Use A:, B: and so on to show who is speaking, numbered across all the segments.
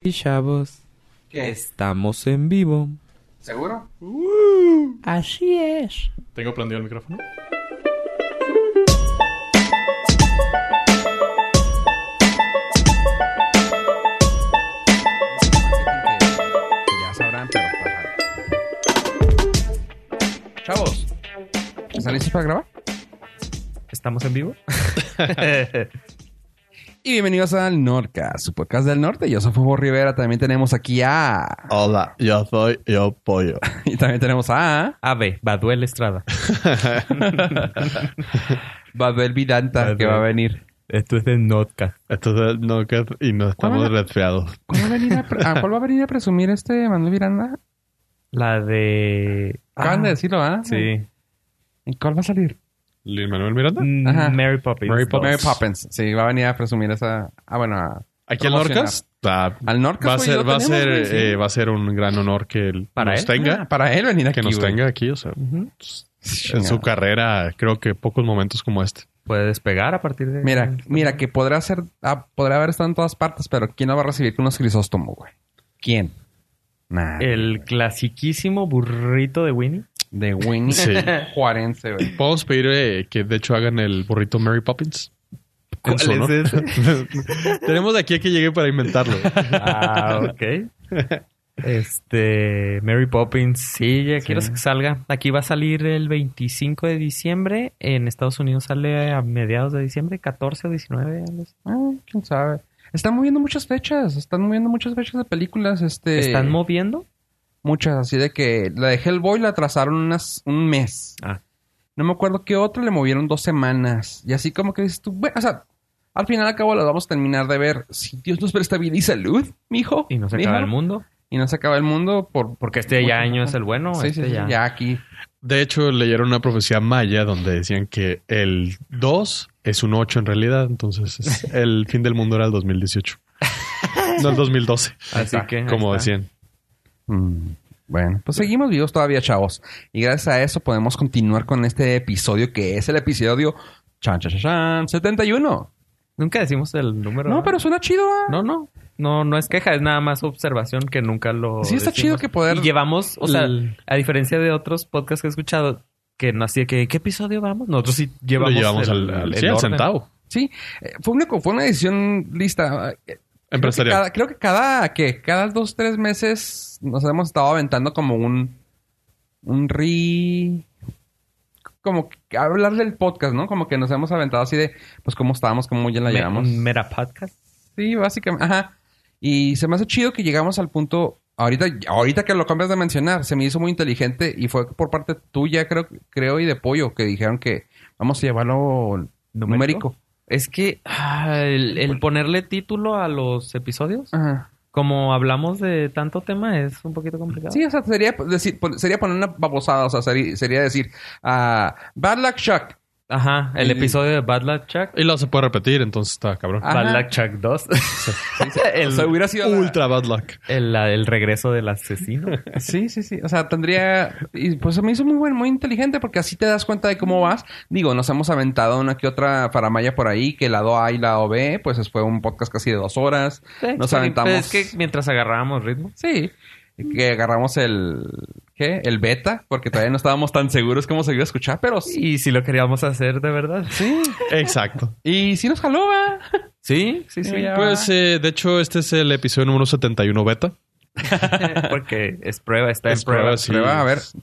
A: y chavos,
B: ¿Qué?
A: estamos en vivo.
B: ¿Seguro?
A: Así es.
C: Tengo prendido el micrófono.
B: Ya sabrán, pero pasa. Chavos, ¿están listos para grabar?
D: ¿Estamos en vivo?
B: Y bienvenidos al Norca, su podcast del norte. Yo soy Fubo Rivera. También tenemos aquí a.
E: Hola, yo soy yo pollo.
B: Y también tenemos a.
D: Ave, Baduel Estrada.
B: Babel Vidanta, que va a venir.
D: Esto es de Notcast.
E: Esto es no y no estamos
B: Hola.
E: resfriados.
B: ¿Cuál va a venir a, pre- ah, cuál va a, venir a presumir este Manuel Miranda?
D: La de...
B: Acaban
D: Ah,
B: de decirlo, ¿ah?
D: Sí.
B: ¿Y cuál va a salir?
E: Luis Manuel Miranda.
D: Mm,
B: Ajá.
D: Mary Poppins.
E: Mary Poppins.
B: Mary Poppins. Sí, va a venir a presumir esa. Ah, bueno, a-
E: Aquí en
B: Promocionar.
E: Orcas. Va
B: al Pues Norca.
E: va a ser, va a ser, eh, va a ser un gran honor que él
D: ¿Para
E: nos
D: él? Ah,
E: tenga,
B: para él venir aquí.
E: que nos
B: güey.
E: tenga aquí. O sea,
D: Ujú.
E: en su carrera creo que pocos momentos como este.
D: Puede despegar a partir de...
B: Mira, mira, que podrá ser, ah, podrá haber estado en todas partes, pero ¿quién no va a recibir con unos crisóstomos, güey? ¿Quién? Nah.
D: El clasiquísimo burrito de Winnie.
B: De Winnie
E: Sí.
B: Juarense, güey.
E: Podemos pedir eh, que de hecho hagan el burrito Mary Poppins. En
D: ¿Cuál
E: su
D: es
E: honor. Tenemos de aquí a que llegue para inventarlo.
D: Ah, ok. Este, Mary Poppins, sí, ya quiero que salga. Aquí va a salir el 25 de diciembre. En Estados Unidos sale a mediados de diciembre, 14 o 19. algo así.
B: Ah, quién sabe. Están moviendo muchas fechas, están moviendo muchas fechas de películas, este...
D: ¿Están moviendo?
B: muchas, así de que la de Hellboy la atrasaron unas, un mes.
D: Ah.
B: No me acuerdo qué otra le movieron dos semanas. Y así como que dices tú, bueno, o sea, al final al cabo las vamos a terminar de ver. Si Dios nos presta vida y salud, mijo.
D: Y no se
B: mija,
D: acaba el mundo.
B: Y no se acaba el mundo por...
D: Porque este ya año es el bueno.
B: Sí, sí,
D: este
B: sí,
D: ya.
B: ya. aquí.
E: De hecho, leyeron una profecía maya donde decían que el 2 es un 8 en realidad, entonces es- el fin del mundo era el 2018. No el 2012,
D: Así
B: está,
D: que. ahí
E: como
D: está.
E: decían.
B: Mm, Bueno, pues seguimos vivos todavía, chavos. Y gracias a eso podemos continuar con este episodio que es el episodio chan, chan, chan, chan, 71.
D: Nunca decimos el número.
B: No,
D: ¿verdad?
B: pero suena chido. ¿ah?
D: No, no. No, no es queja, es nada más observación que nunca lo.
B: Sí, está chido que poder-
D: Y llevamos, o sea,
E: El-
D: a diferencia de otros podcasts que he escuchado, que no hacía que, ¿qué episodio vamos? Nosotros sí llevamos.
E: Lo llevamos al, al- sí, al
D: orden.
E: centavo.
B: Sí, eh, fue una, fue una decisión lista. eh, Creo que,
E: Empresarial.
B: cada, creo que cada, ¿qué? Cada dos, tres meses nos hemos estado aventando como un... Un re... Como que hablar del podcast, ¿no? Como que nos hemos aventado así de... Pues cómo estábamos, cómo ya la
D: Me-
B: llevamos.
D: un Mera podcast.
B: Sí, básicamente. Ajá. Y se me hace chido que llegamos al punto. Ahorita, ahorita que lo cambias de mencionar, se me hizo muy inteligente y fue por parte tuya, creo, creo, y de pollo, que dijeron que vamos a llevarlo numérico.
D: Es que ah, el, el ponerle título a los episodios,
B: Ajá.
D: como hablamos de tanto tema, es un poquito complicado.
B: Sí, o sea, sería pues, decir, pon- sería poner una babosada, o sea, sería, sería decir, ah, Bad Luck Chuck.
D: Ajá, el
B: Y-
D: episodio de Bad Luck Chuck.
E: Y luego se puede repetir, entonces está cabrón.
B: Ah,
D: Bad
B: Ajá.
D: Luck Chuck 2.
B: o sea, hubiera sido la-
E: Ultra bad luck.
D: el, la- el regreso del asesino.
B: Sí, sí, sí. O sea, tendría. Y pues se me hizo muy buen, muy inteligente porque así te das cuenta de cómo vas. Digo, nos hemos aventado una que otra faramaya por ahí, que lado A y lado B, pues fue un podcast casi de dos horas. Nos aventamos.
D: Pues es que mientras agarrábamos ritmo.
B: Sí. Que agarramos el. ¿Qué? El beta, porque todavía no estábamos tan seguros cómo se iba a escuchar, pero sí.
D: Y si lo queríamos hacer de verdad.
B: Sí.
E: Exacto.
B: Y sí nos jaló, va.
D: Sí, sí, sí.
B: Ya.
E: Pues eh, de hecho, este es el episodio número 71 beta.
D: Porque es prueba, está en
E: Es
D: prueba.
E: prueba,
B: Sí, va, a ver. ¿Sí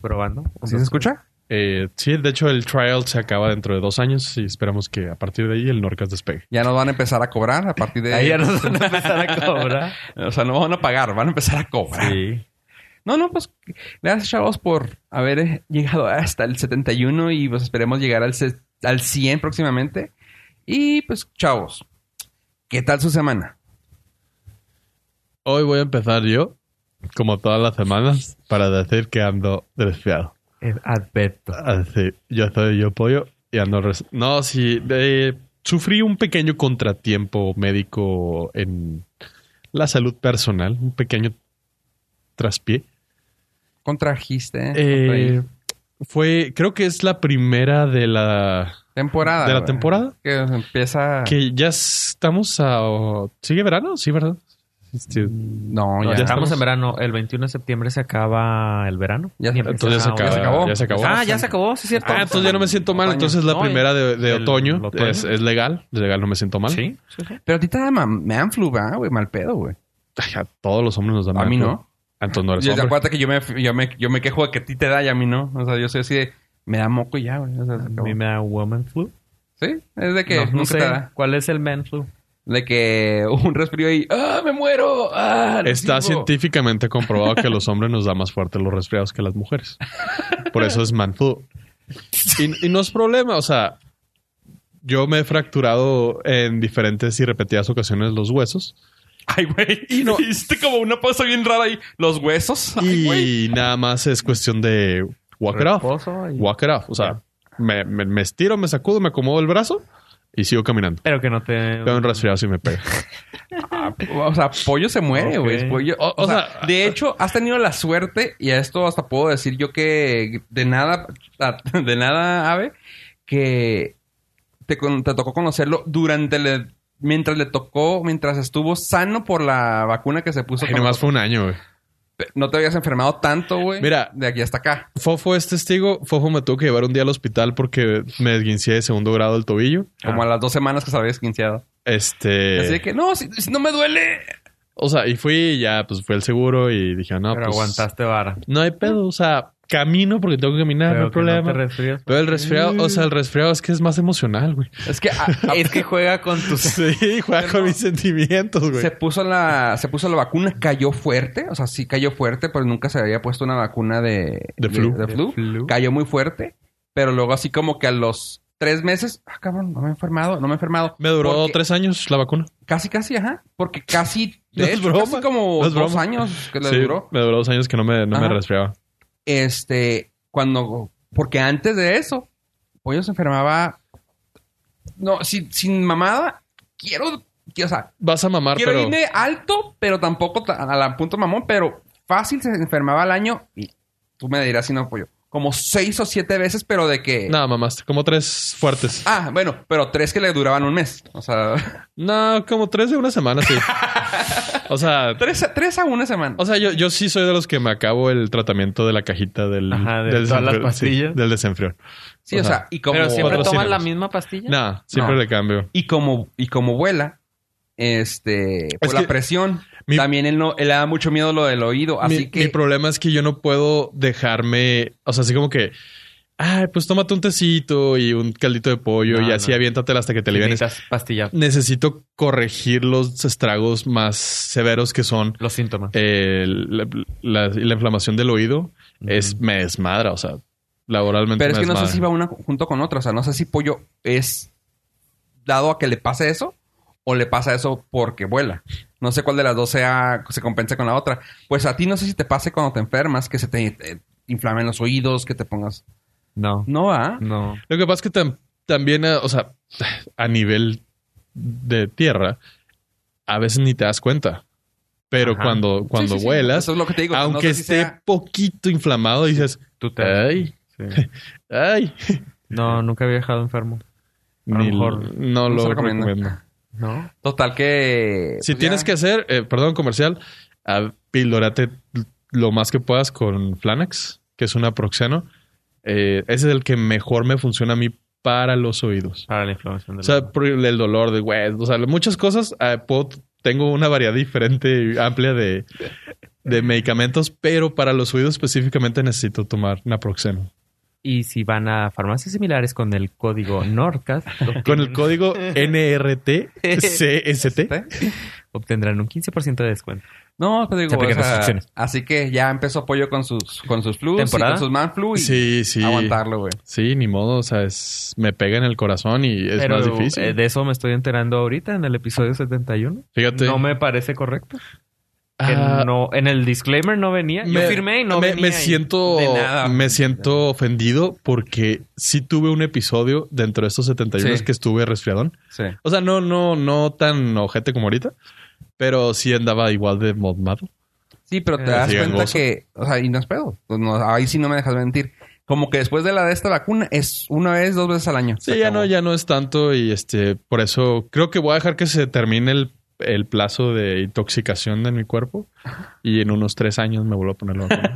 D: Probando.
B: se escucha?
E: Eh, sí, de hecho, el trial se acaba dentro de dos años y esperamos que a partir de ahí el Norcas despegue.
B: Ya nos van a empezar a cobrar a partir de.
D: Ahí ya nos van a empezar a cobrar.
B: O sea, no van a pagar, van a empezar a cobrar.
D: Sí.
B: No, no, pues gracias chavos por haber eh, llegado hasta el 71 y pues esperemos llegar al, se- al 100 próximamente. Y pues chavos, ¿qué tal su semana?
E: Hoy voy a empezar yo, como todas las semanas, para decir que ando resfriado.
D: Eh, Adverto.
E: Así, yo soy yo pollo y ando res- No, sí, eh, sufrí un pequeño contratiempo médico en la salud personal, un pequeño traspié.
B: Contrajiste
E: Eh, fue, creo que es la primera de la
B: temporada.
E: de la
B: güey.
E: temporada.
B: Que empieza...
E: que ya estamos a. ¿Sigue verano? Sí, ¿verdad? Sí.
B: No,
D: No,
B: ya,
D: ya estamos
E: estamos-
D: en verano. El 21 de septiembre se acaba el verano.
B: Ya-
D: Y empieza
E: Entonces ya se,
D: ahora.
E: acaba,
B: se acabó.
E: ya se acabó.
D: Ah, ya se acabó, sí es cierto.
E: Ah, entonces ya no me siento mal.
D: Otoño.
E: Entonces la
D: No,
E: primera de, de
D: el-
E: otoño,
D: el otoño.
E: Es, es legal. Es legal, no me siento mal.
D: Sí, sí, sí.
B: Pero a ti te da ma- man flu, ¿verdad, güey? Mal pedo, güey.
E: Ay, a todos los hombres nos dan
B: A mí
E: manflu.
B: no.
E: Ah, Entonces no eres
B: Y
E: hombre.
B: acuérdate que yo me, yo, me, yo me quejo de que a ti te da y a mí no. O sea, yo soy así de... Me da moco y ya, güey. O sea, se
D: A
B: acabó.
D: mí me da woman flu.
B: Sí, es de que
D: no, no
B: nunca
D: sé
B: te da.
D: cuál es el man flu.
B: De que un resfrío y... ¡Ah, me muero! ¡Ah, lo
E: Está
B: sigo!
E: científicamente comprobado que a los hombres nos da más fuerte los resfriados que a las mujeres. Por eso es man flu. Y, y no es problema, o sea, yo me he fracturado en diferentes y repetidas ocasiones los huesos
B: Ay, güey. Y no. Hiciste como una pausa bien rara ahí. Los huesos. Ay, güey.
E: y nada más es cuestión de walk it off.
D: Reposo y-
E: Walk it off. O sea, me, me- me estiro, me sacudo, me acomodo el brazo y sigo caminando.
D: Pero que no te...
E: Pero un resfriado sí me pega.
B: Ah, O sea, pollo se muere,
D: Ok.
B: güey. Pollo- O, o
E: O
B: sea,
E: sea,
B: de hecho, has tenido la suerte, y a esto hasta puedo decir yo que de nada, de nada, Ave, que te, con- te tocó conocerlo durante le- mientras le tocó, mientras estuvo sano por la vacuna que se puso.
E: Y
B: con
E: nomás fue un año, güey.
B: nosotros. No te habías enfermado tanto, güey.
E: Mira.
B: De aquí hasta acá.
E: Fofo es testigo. Fofo me tuvo que llevar un día al hospital porque me desguincé de segundo grado del tobillo.
B: Como a las dos semanas que se había esquinceado.
E: Este.
B: Así de que, no, si- si no me duele.
E: O sea, y fui y ya, pues fue el seguro y dije, no,
D: pero
E: pues.
D: aguantaste vara.
E: No hay pedo, o sea, camino porque tengo que caminar,
D: Pero
E: no hay
D: que no
E: problema.
D: te resfrías.
E: pero el resfriado, o sea, el resfriado es que es más emocional, güey.
B: Es que... a- a-
D: Es que juega con tus...
E: Sí, juega con mis sentimientos, güey.
B: Se puso la, se puso la vacuna, cayó fuerte, o sea, sí cayó fuerte, pero nunca se había puesto una vacuna de,
E: De flu.
B: de flu.
D: De flu.
B: Cayó muy fuerte, pero luego así como que a los tres meses, ah, cabrón, no me he enfermado, no me he enfermado.
E: Me duró
B: Porque-
E: tres años la vacuna.
B: Casi, casi, ajá. Porque casi, de
E: No es
B: hecho,
E: broma.
B: casi como
E: No es
B: dos
E: broma.
B: años que le
E: Sí,
B: duró.
E: Me duró dos años que no me, no me
B: Ajá.
E: resfriaba.
B: Este, cuando, porque antes de eso, Pollo se enfermaba, no, sin, sin mamada, quiero, o sea,
E: Vas a mamar,
B: Quiero
E: Ah, pero.
B: irme alto, pero tampoco ta- a la punto mamón, pero fácil se enfermaba al año y tú me dirás si no pollo. Como seis o siete veces, pero de que.
E: Nada, mamaste. Como tres fuertes.
B: Ah, bueno, pero tres que le duraban un mes. O sea,
E: No, como tres de una semana, sí. o sea,
B: tres, a- tres a una semana.
E: o sea, yo, yo sí soy de los que me acabo el tratamiento de la cajita del,
D: Ajá, de
E: del
D: todas las
E: desenfrión,
D: pastillas.
E: Sí, del desenfrión.
B: sí, o
E: ajá.
B: sea, y como.
D: Pero siempre
E: Otros
D: tomas la
E: síndromes.
D: misma pastilla.
E: Nah, siempre
B: No.
E: le cambio.
B: Y como, y como vuela, este. Por
E: Es
B: la
E: que-
B: presión.
E: mi-
B: también él no, él le da mucho miedo lo del oído. Así
E: mi,
B: que.
E: mi problema es que yo no puedo dejarme, o sea, así como que, ay, pues tómate un tecito y un caldito de pollo
D: No,
E: y así
D: no.
E: aviéntatela hasta que te liberes.
D: Necesitas pastillar
E: Necesito corregir los estragos más severos que son
D: los síntomas.
E: eh, la, la- la inflamación del oído. Es me desmadra, o sea, laboralmente.
B: Pero es
E: me
B: que no sé
E: desmadra.
B: si va una junto con otra. O sea, no sé si pollo es dado a que le pase eso o le pasa eso porque vuela. No sé cuál de las dos sea se compensa con la otra. Pues a ti no sé si te pase cuando te enfermas, que se te, eh, inflamen los oídos, que te pongas.
D: No.
B: No ah? va.
D: No.
E: Lo que pasa es que tam- también, eh, o sea, a nivel de tierra, a veces ni te das cuenta. Pero
D: Ajá.
E: cuando, cuando
B: Sí, sí, sí.
E: vuelas,
B: Eso es lo que te digo.
E: aunque
B: no sé si
E: esté
B: sea-
E: poquito inflamado, dices,
D: Tú te...
E: ay,
D: Sí.
E: ay.
D: No, nunca había dejado enfermo. A lo
E: Ni-
D: mejor
B: no
E: no lo
B: se
E: recomiendo.
B: recomienda.
D: ¿No?
B: Total que.
E: Si
B: pues,
E: tienes
B: ya.
E: que hacer, eh, perdón, comercial, a pildorate lo más que puedas con Flanax, que es un aproxeno. Eh, ese es el que mejor me funciona a mí para los oídos.
D: Para la inflamación del
E: O sea, por el el dolor de güey, o sea, muchas cosas. eh, puedo- tengo una variedad diferente y amplia de, de medicamentos, pero para los oídos específicamente necesito tomar naproxeno.
D: Y si van a farmacias similares con el código NORCAS,
E: Con el código NRTCST.
D: obtendrán un 15% de descuento.
B: No, te digo.
D: Se aplican
B: o sea,
D: restricciones.
B: así que ya empezó pollo con sus, con sus flus, y
D: ¿Temporada?
B: con sus man flu y
E: Sí, sí.
B: aguantarlo, güey.
E: Sí, ni modo, o sea, es, me pega en el corazón y es más difícil.
D: eh, de eso me estoy enterando ahorita en el episodio 71.
E: Fíjate.
D: No me parece correcto. Que
E: Ah,
D: no, en el disclaimer no venía. Yo
E: me-
D: firmé y no
E: me,
D: venía.
E: me
D: ahí.
E: siento
B: De nada.
E: me siento ofendido porque sí tuve un episodio dentro de estos 71
B: Sí.
E: que estuve resfriadón.
B: Sí.
E: O sea, no, no, no tan ojete como ahorita, pero sí andaba igual de modmado.
B: Sí, pero te
D: Eh,
B: das
E: sí,
B: cuenta
E: gangoso.
B: que, o sea, y no es pedo. Pues no, ahí sí no me dejas mentir. Como que después de la de esta vacuna es una vez, dos veces al año.
E: Sí,
B: Se
E: ya
B: acabó.
E: no, ya no es tanto y este, por eso creo que voy a dejar que se termine el el plazo de intoxicación de mi cuerpo y en unos tres años me vuelvo a poner la vacuna.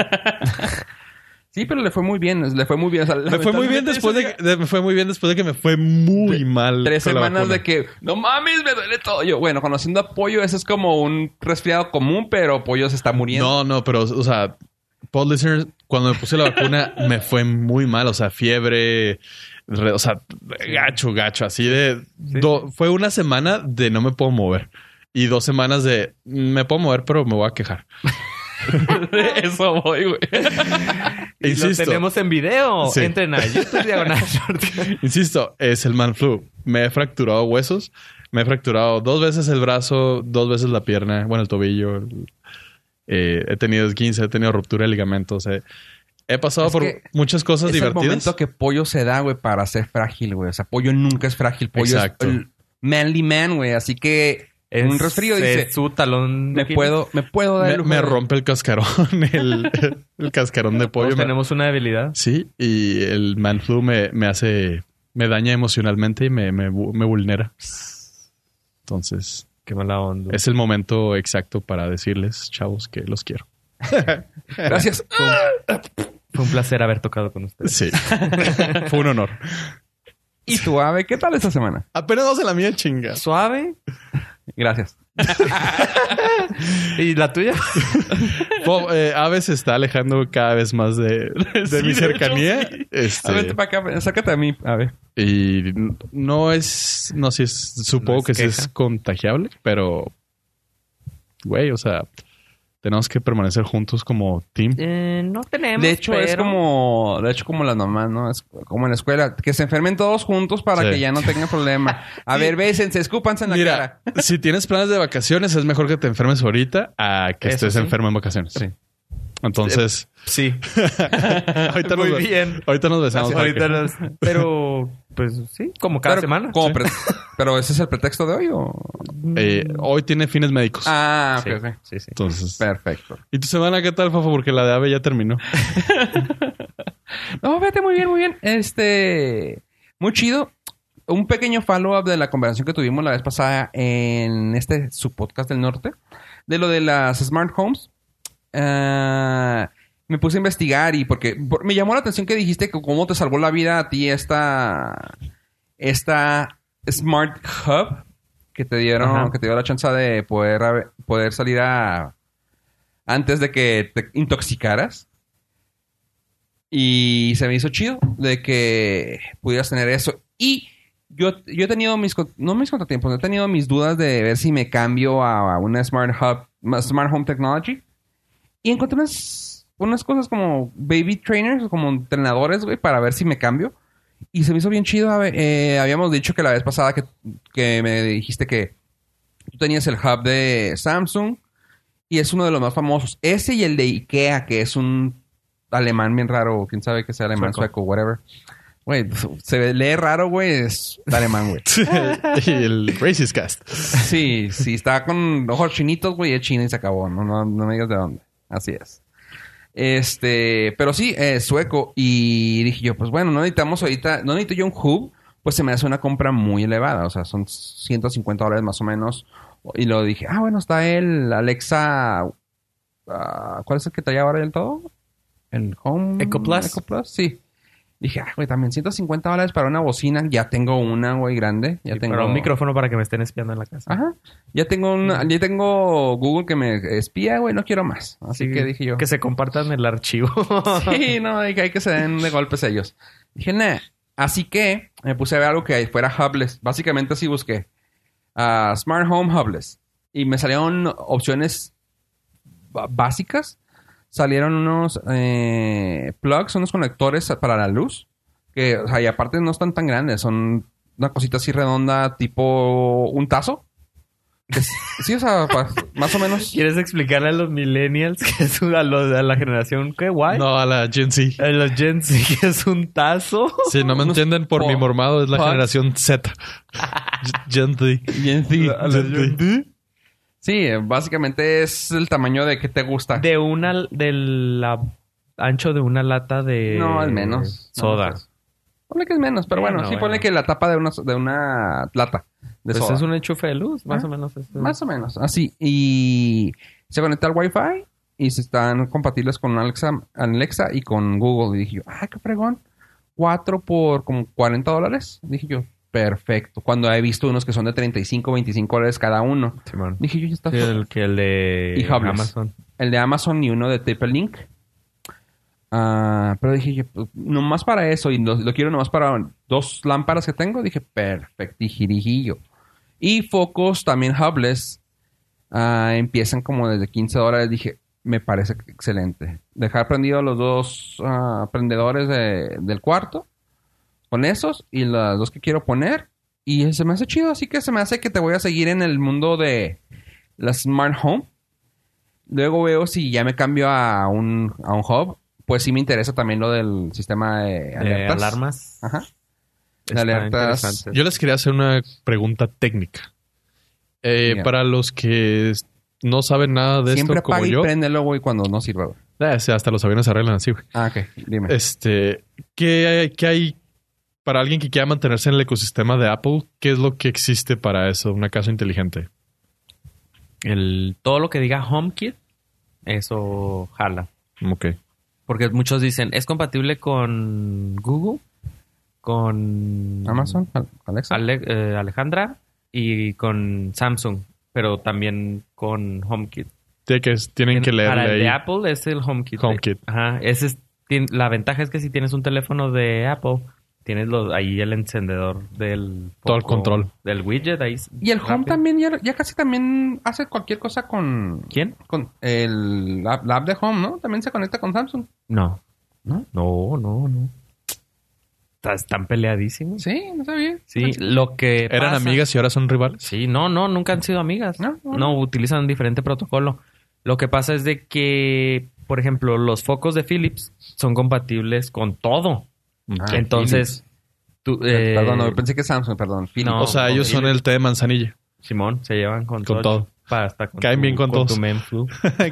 B: Sí, pero le fue muy bien. Le fue muy bien. O sea,
E: me fue muy bien
B: lamentablemente
E: después
B: eso
E: de, de- me fue muy bien después de que me fue muy mal.
B: Tres
E: con la
B: semanas
E: vacuna.
B: de que, no mames, me duele todo. Yo, bueno, conociendo a Pollo, eso es como un resfriado común, pero Pollo se está muriendo.
E: No, no, pero o sea, Paul listeners, cuando me puse la vacuna me fue muy mal, o sea, fiebre, re- o sea, gacho, gacho, así de do- fue una semana de no me puedo mover y dos semanas de mm, me puedo mover pero me voy a quejar.
B: De eso voy, güey.
D: Y
E: Insisto.
D: lo tenemos en video.
E: Sí.
D: Entren a YouTube Diagonal Shortcast.
E: Insisto, es el man flu. Me he fracturado huesos, me he fracturado dos veces el brazo, dos veces la pierna, bueno, el tobillo. el- eh, he tenido esguince, he tenido ruptura de ligamentos. eh. He pasado
B: Es
E: por
B: que
E: muchas cosas
B: es el
E: divertidas.
B: momento que Pollo se da, güey, para ser frágil, güey. O sea, Pollo nunca es frágil. Pollo
E: Exacto.
B: es el manly man, güey. Así que en un
D: Es-
B: resfrío
D: es
B: dice,
D: su talón. de
B: me
D: Aquiles.
B: puedo, me puedo dar
E: me,
B: el lujo
E: me
B: de-
E: rompe el cascarón, el, el cascarón de
D: Todos
E: pollo. Me-
D: tenemos una debilidad.
E: Sí, y el man flu me, me hace, me daña emocionalmente y me, me, vu- me vulnera. Entonces,
D: Qué mala onda.
E: es el momento exacto para decirles, chavos, que los quiero.
B: Gracias.
D: Fue un placer haber tocado con ustedes.
E: Sí, fue un honor.
B: y tu ave, ¿qué tal esta semana?
E: Apenas dos en la mía, chinga.
D: Suave.
B: Gracias.
D: ¿Y la tuya?
E: Bob, eh, Aves se está alejando cada vez más de, de
D: Sí, de
E: mi
D: hecho,
E: cercanía.
D: sí.
E: Este,
B: A ver, vente para acá, ven, acércate a mí, a ver.
E: y n- no es, no si es, supongo
D: No es
E: que sí
D: queja.
E: es contagiable, pero, güey, o sea, tenemos que permanecer juntos como team.
D: Eh, no tenemos.
B: De hecho, es
D: pero-
B: como, de hecho, como las mamás, ¿no? Es como en la escuela, que se enfermen todos juntos para
E: Sí.
B: que ya no tengan problema. A ver, bésense, escúpanse en la cara.
E: Mira, si tienes planes de vacaciones, es mejor que te enfermes ahorita a que
D: Eso
E: estés
D: sí.
E: enfermo en vacaciones.
B: Sí.
E: Entonces,
D: Sí.
E: ahorita,
D: Muy
E: nos,
D: bien.
E: ahorita nos besamos.
D: Ahorita
E: porque-
D: las- Pero, pues sí, como cada
B: Pero-
D: semana.
B: como pre- Pero ese es el pretexto de hoy, ¿o?
E: eh, hoy tiene fines médicos.
B: Ah, ok,
D: Sí,
B: ok.
D: sí, sí.
E: Entonces,
B: Perfecto.
E: ¿y tu semana qué tal, Fafo? Porque la de Ave ya terminó.
B: No, vete muy bien, muy bien. Este. Muy chido. Un pequeño follow-up de la conversación que tuvimos la vez pasada en este su podcast del norte. De lo de las smart homes. Ah, me puse a investigar y porque por- me llamó la atención que dijiste que cómo te salvó la vida a ti esta. Esta Smart Hub que te dieron,
D: Ajá.
B: que te dio la chance de poder, haber- poder salir a. antes de que te intoxicaras. Y se me hizo chido de que pudieras tener eso. Y yo, yo he tenido mis, con- no mis contratiempos, he tenido mis dudas de ver si me cambio a, a una Smart Hub, ma- Smart Home Technology. Y encontré unas, unas cosas como baby trainers, como entrenadores, güey, para ver si me cambio. Y se me hizo bien chido. a ver, eh, habíamos dicho que la vez pasada que, que me dijiste que tú tenías el hub de Samsung y es uno de los más famosos. Ese y el de Ikea, que es un alemán bien raro, quién sabe que sea alemán, sueco,
D: Sueco.
B: whatever. Güey, se lee raro, güey, es alemán, güey.
E: y el Racist Cast.
B: Sí, sí, está con ojos chinitos, güey, es chino y se acabó. No, no, no me digas de dónde. Así es. Este, pero sí, eh, sueco. Y dije yo, pues bueno, no necesitamos ahorita, no necesito yo un hub, pues se me hace una compra muy elevada. O sea, son 150 dólares más o menos. Y lo dije, ah, bueno, está el Alexa. ah, ¿Cuál es el que trae ahora el todo? El Home.
D: Eco Plus.
B: sí. Dije, ah, güey, también 150 dólares para una bocina. Ya tengo una, güey, grande. Ya
D: Y
B: tengo
D: para un micrófono para que me estén espiando en la casa.
B: Ajá. Ya tengo una, ya tengo Google que me espía, güey, no quiero más. Así
D: Sí,
B: que dije yo.
D: Que se compartan el archivo.
B: Sí, no, dije, hay que se den de golpes ellos. Dije, nah. Así que me puse a ver algo que fuera hubless. Básicamente así busqué. ah, Smart Home Hubless. Y me salieron opciones ba- básicas. Salieron unos eh, plugs, unos conectores para la luz. Que, o sea, y aparte no están tan grandes. Son una cosita así redonda, tipo un tazo. Que es- Sí, o sea, pa- más o menos.
D: ¿Quieres explicarle a los millennials que es una- a, los- a la generación que guay?
E: No, a la Gen Z.
D: A los Gen Z que es un tazo.
E: Si no me
B: Unos
E: entienden por
B: po-
E: mi mormado, es la
B: pods.
E: generación Z. Gen Z.
B: Bien, sí.
E: A la Gen Z.
B: Sí, básicamente es el tamaño de que te gusta.
D: De una... Del la- ancho de una lata de...
B: no, al menos.
D: Soda.
B: No, pues, ponle que es menos, pero bueno,
D: Bueno,
B: sí,
D: bueno.
B: ponle que la tapa de una, de una lata. de
D: Pues
B: soda.
D: es un enchufe de luz, más
B: Ah,
D: o menos. es-
B: Más o menos, así. Y se conecta al Wi-Fi y se están compatibles con Alexa, Alexa y con Google. Y dije yo, ah, qué fregón. Cuatro por como 40 dólares. Dije yo, perfecto. Cuando he visto unos que son de 35, 25 dólares cada uno.
D: Simón.
B: Dije yo, ya está.
D: Sí, el que el de
B: Y Hubbles.
D: Amazon.
B: El de Amazon y uno de Triple Link. Ah, pero dije yo, pues, nomás para eso. Y lo, lo quiero nomás para dos lámparas que tengo. Dije, perfecto, jirijillo. Y focos también Hubless ah, empiezan como desde 15 dólares. Dije, me parece excelente. Dejar prendidos los dos ah, prendedores de- del cuarto con esos y los dos que quiero poner. Y se me hace chido, así que se me hace que te voy a seguir en el mundo de la Smart Home. Luego veo si ya me cambio a un, a un hub. Pues sí me interesa también lo del sistema de
D: De
B: alertas.
D: alarmas.
B: Ajá. De
D: Está
B: alertas.
D: interesante.
E: Yo les quería hacer una pregunta técnica. Eh,
B: Bien.
E: Para los que s- no saben nada de
B: Siempre
E: esto como
B: apaga y
E: yo,
B: préndelo, güey, cuando no sirva, güey.
E: Eh, o sea, hasta los aviones se arreglan así, güey.
B: Ah, ok. Dime.
E: Este, ¿qué, qué hay para alguien que quiera mantenerse en el ecosistema de Apple? ¿Qué es lo que existe para eso? Una casa inteligente.
D: El, todo lo que diga HomeKit, eso jala.
E: Ok.
D: Porque muchos dicen, ¿es compatible con Google? Con
B: Amazon, Al- Alexa.
D: Ale- eh, Alejandra y con Samsung, pero también con HomeKit.
E: Tiene que, tienen que leerle
D: Para el
E: ahí.
D: de Apple es el HomeKit.
E: HomeKit.
D: Ajá. Ese es- tien- la ventaja es que si tienes un teléfono de Apple, tienes los, ahí el encendedor del...
E: Todo el
D: foco,
E: control.
D: Del widget ahí. es
B: Y el Home
D: rápido.
B: también, ya, ya casi también hace cualquier cosa con,
D: ¿Quién?
B: con el, la, la app de Home, ¿no? También se conecta con Samsung.
D: No.
B: ¿No?
D: No, no, no. Está- Están peleadísimos.
B: Sí, no sabía. Pues,
D: Sí, lo que
E: ¿Eran
D: pasa-
E: amigas y ahora son rivales?
D: Sí, no, no, nunca han sido amigas.
B: No, no.
D: No, utilizan diferente protocolo. Lo que pasa es de que, por ejemplo, los focos de Philips son compatibles con todo.
B: Ah,
D: Entonces, tú, eh,
B: Perdón, no, pensé que Samsung, perdón. Philips.
D: no,
E: o sea, ellos son el té de manzanilla.
D: Simón, se llevan con,
E: Con
D: todo.
E: todo.
D: Para hasta con
E: Caen
D: tu-
E: bien con todos.
D: tu Menflu.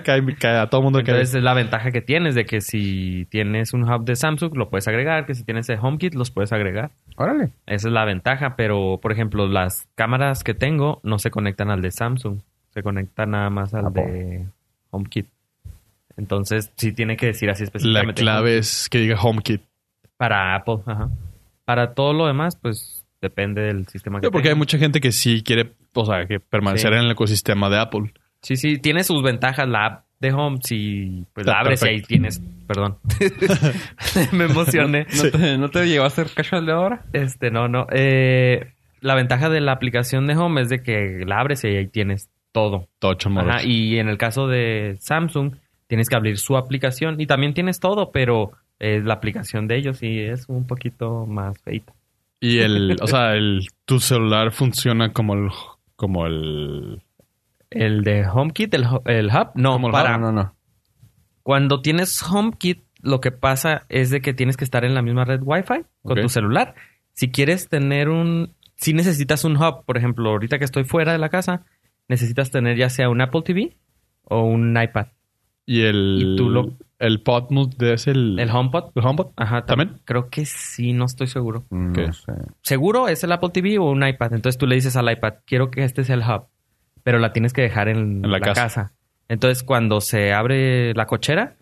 E: Cae- cae- a todo mundo cae.
D: Entonces, es la ventaja que tienes de que si tienes un hub de Samsung, lo puedes agregar. Que si tienes el HomeKit, los puedes agregar.
B: Órale.
D: Esa es la ventaja, pero por ejemplo, las cámaras que tengo no se conectan al de Samsung, se conectan nada más al
B: Apple.
D: de HomeKit. Entonces, sí tiene que decir así
E: la
D: específicamente.
E: clave es que diga HomeKit.
D: Para Apple, ajá. Para todo lo demás, pues depende del sistema que
E: Sí, porque hay
D: tengas.
E: mucha gente que sí quiere, o sea, que permanecer
D: Sí.
E: en el ecosistema de Apple.
D: Sí, sí, tiene sus ventajas la app de Home, si pues la
E: Está
D: abres y ahí
E: perfecto.
D: tienes, perdón. Me emocioné.
B: ¿No, te, ¿No te llegó a hacer cacho el de ahora?
D: Este, no, no. Eh, la ventaja de la aplicación de Home es de que la abres y ahí tienes todo.
E: Tocho moros.
D: Ajá, y en el caso de Samsung, tienes que abrir su aplicación y también tienes todo, pero eh, la aplicación de ellos sí es un poquito más feita.
E: Y el, o sea, el, tu celular funciona como el, como el,
D: El de HomeKit, el, hu- el Hub, no,
E: Como el
D: para.
B: No, no, no.
D: Cuando tienes HomeKit, lo que pasa es de que tienes que estar en la misma red Wi-Fi con
E: Ok.
D: tu celular. Si quieres tener un... Si necesitas un hub, por ejemplo, ahorita que estoy fuera de la casa, necesitas tener ya sea un Apple TV o un iPad.
E: y el,
D: Y tú lo-
E: el PodMode de ese, el,
D: El HomePod.
E: el HomePod.
D: Ajá,
E: ¿También?
D: Creo que sí, no estoy seguro.
B: No
E: ¿Qué?
B: sé.
D: seguro es el Apple TV o un iPad. Entonces tú le dices al iPad, quiero que este sea el hub, pero la tienes que dejar en,
E: En la
D: la,
E: casa.
D: casa. Entonces cuando se abre la cochera,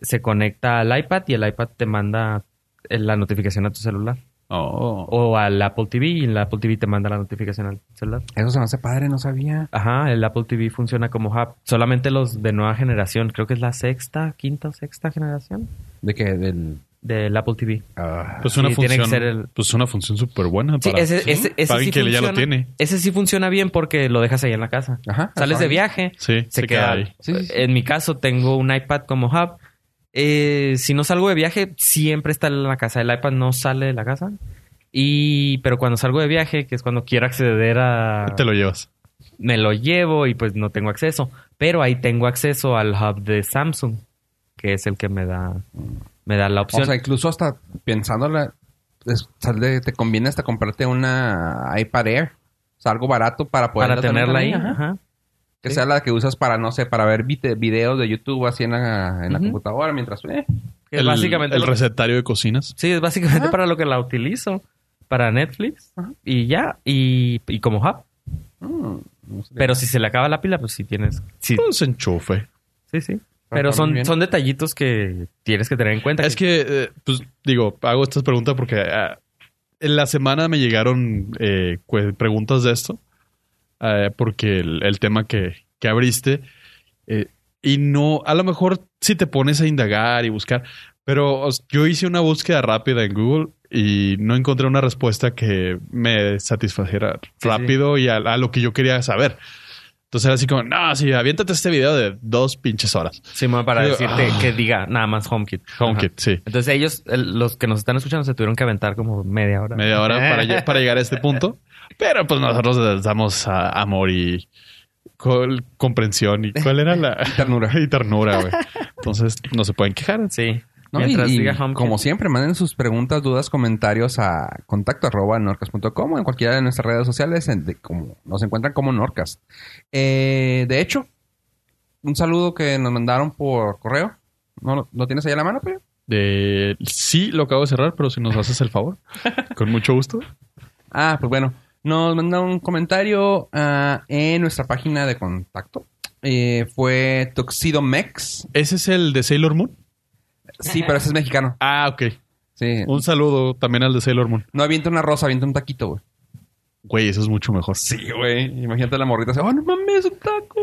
D: se conecta al iPad y el iPad te manda eh, la notificación a tu celular.
E: Oh.
D: O al Apple TV y el Apple TV te manda la notificación al celular.
B: Eso se me hace padre, no sabía.
D: Ajá, el Apple TV funciona como hub. Solamente los de nueva generación, creo que es la sexta, quinta o sexta generación
B: ¿De qué? Del...
D: del Apple TV.
B: ah.
E: Pues una
D: Sí, tiene que
E: función,
D: ser el-
E: pues una función súper buena
D: Sí,
E: para,
D: ese, ese-
E: para
D: ese sí
E: alguien que ya lo
D: funciona.
E: tiene.
D: Ese sí funciona bien porque lo dejas ahí en la casa.
B: Ajá.
D: Sales de
B: Órale.
D: viaje,
E: Sí,
D: se, queda.
E: ahí.
B: Sí, sí, sí.
D: En mi caso, tengo un iPad como hub. Eh, si no salgo de viaje, siempre está en la casa. El iPad no sale de la casa. Y, pero cuando salgo de viaje, que es cuando quiero acceder a.
E: Te lo llevas.
D: Me lo llevo y pues no tengo acceso. Pero ahí tengo acceso al hub de Samsung, que es el que me da, me da la opción.
B: O sea, incluso hasta pensándola, es- sale- te conviene hasta comprarte una iPad Air. O sea, algo barato para poder...
D: para tenerla ahí. ajá.
B: Que
D: Sí.
B: sea la que usas para, no sé, para ver vite- videos de YouTube así en la, en la
D: Ujú.
B: computadora mientras... eh.
D: Que es
E: el,
D: básicamente
E: el
D: lo-
E: recetario de cocinas.
D: Sí, es básicamente
B: Ajá.
D: para lo que la utilizo. para Netflix
B: Ajá.
D: y ya, y, y como hub.
B: Mm, no sé.
D: Pero si se le acaba la pila, pues sí tienes. Sí,
E: Pues enchufe.
D: sí, sí. Pero
B: muy bien.
D: son, son detallitos que tienes que tener en cuenta.
E: Es que, eh, pues digo, hago estas preguntas porque ah, en la semana me llegaron eh, cu- preguntas de esto, eh, porque el, el tema que, que abriste, eh, y no, a lo mejor si te pones a indagar y buscar, pero o s- yo hice una búsqueda rápida en Google y no encontré una respuesta que me satisfaciera
D: sí.
E: rápido y a, a lo que yo quería saber. Entonces era así como, no, sí, aviéntate este video de dos pinches horas.
D: Simón, para
E: Digo,
D: decirte
E: ah.
D: que diga nada más HomeKit.
E: HomeKit,
D: Ajá.
E: sí.
D: Entonces ellos, el- los que nos están escuchando, se tuvieron que aventar como media hora.
E: media hora para, lle- para llegar a este punto. Pero pues nosotros les damos a- amor y col- comprensión. ¿Y cuál era la
B: ternura.
E: y ternura, güey? Entonces no se pueden quejar.
D: Sí.
B: No,
D: Mientras
B: y- y
D: diga HomeKit.
B: como siempre, manden sus preguntas, dudas, comentarios a contacto arroba norcas.com o en cualquiera de nuestras redes sociales en- de- como, nos encuentran como Norcas. Eh, de hecho, un saludo que nos mandaron por correo. ¿No lo, lo tienes ahí a la mano, pero?
E: De, sí, lo acabo de cerrar, pero si nos haces el favor, con mucho gusto.
B: Ah, pues bueno. Nos mandaron un comentario ah, en nuestra página de contacto. Eh, fue Tuxedo Mex.
E: ¿Ese es el de Sailor Moon?
B: Sí, pero ese es mexicano.
E: Ah, ok.
B: Sí.
E: Un saludo también al de Sailor Moon.
B: No avienta una rosa, avienta un taquito, güey.
E: Güey, eso es mucho mejor.
B: Sí, güey. Imagínate la morrita. así, Oh, no mames, un taco.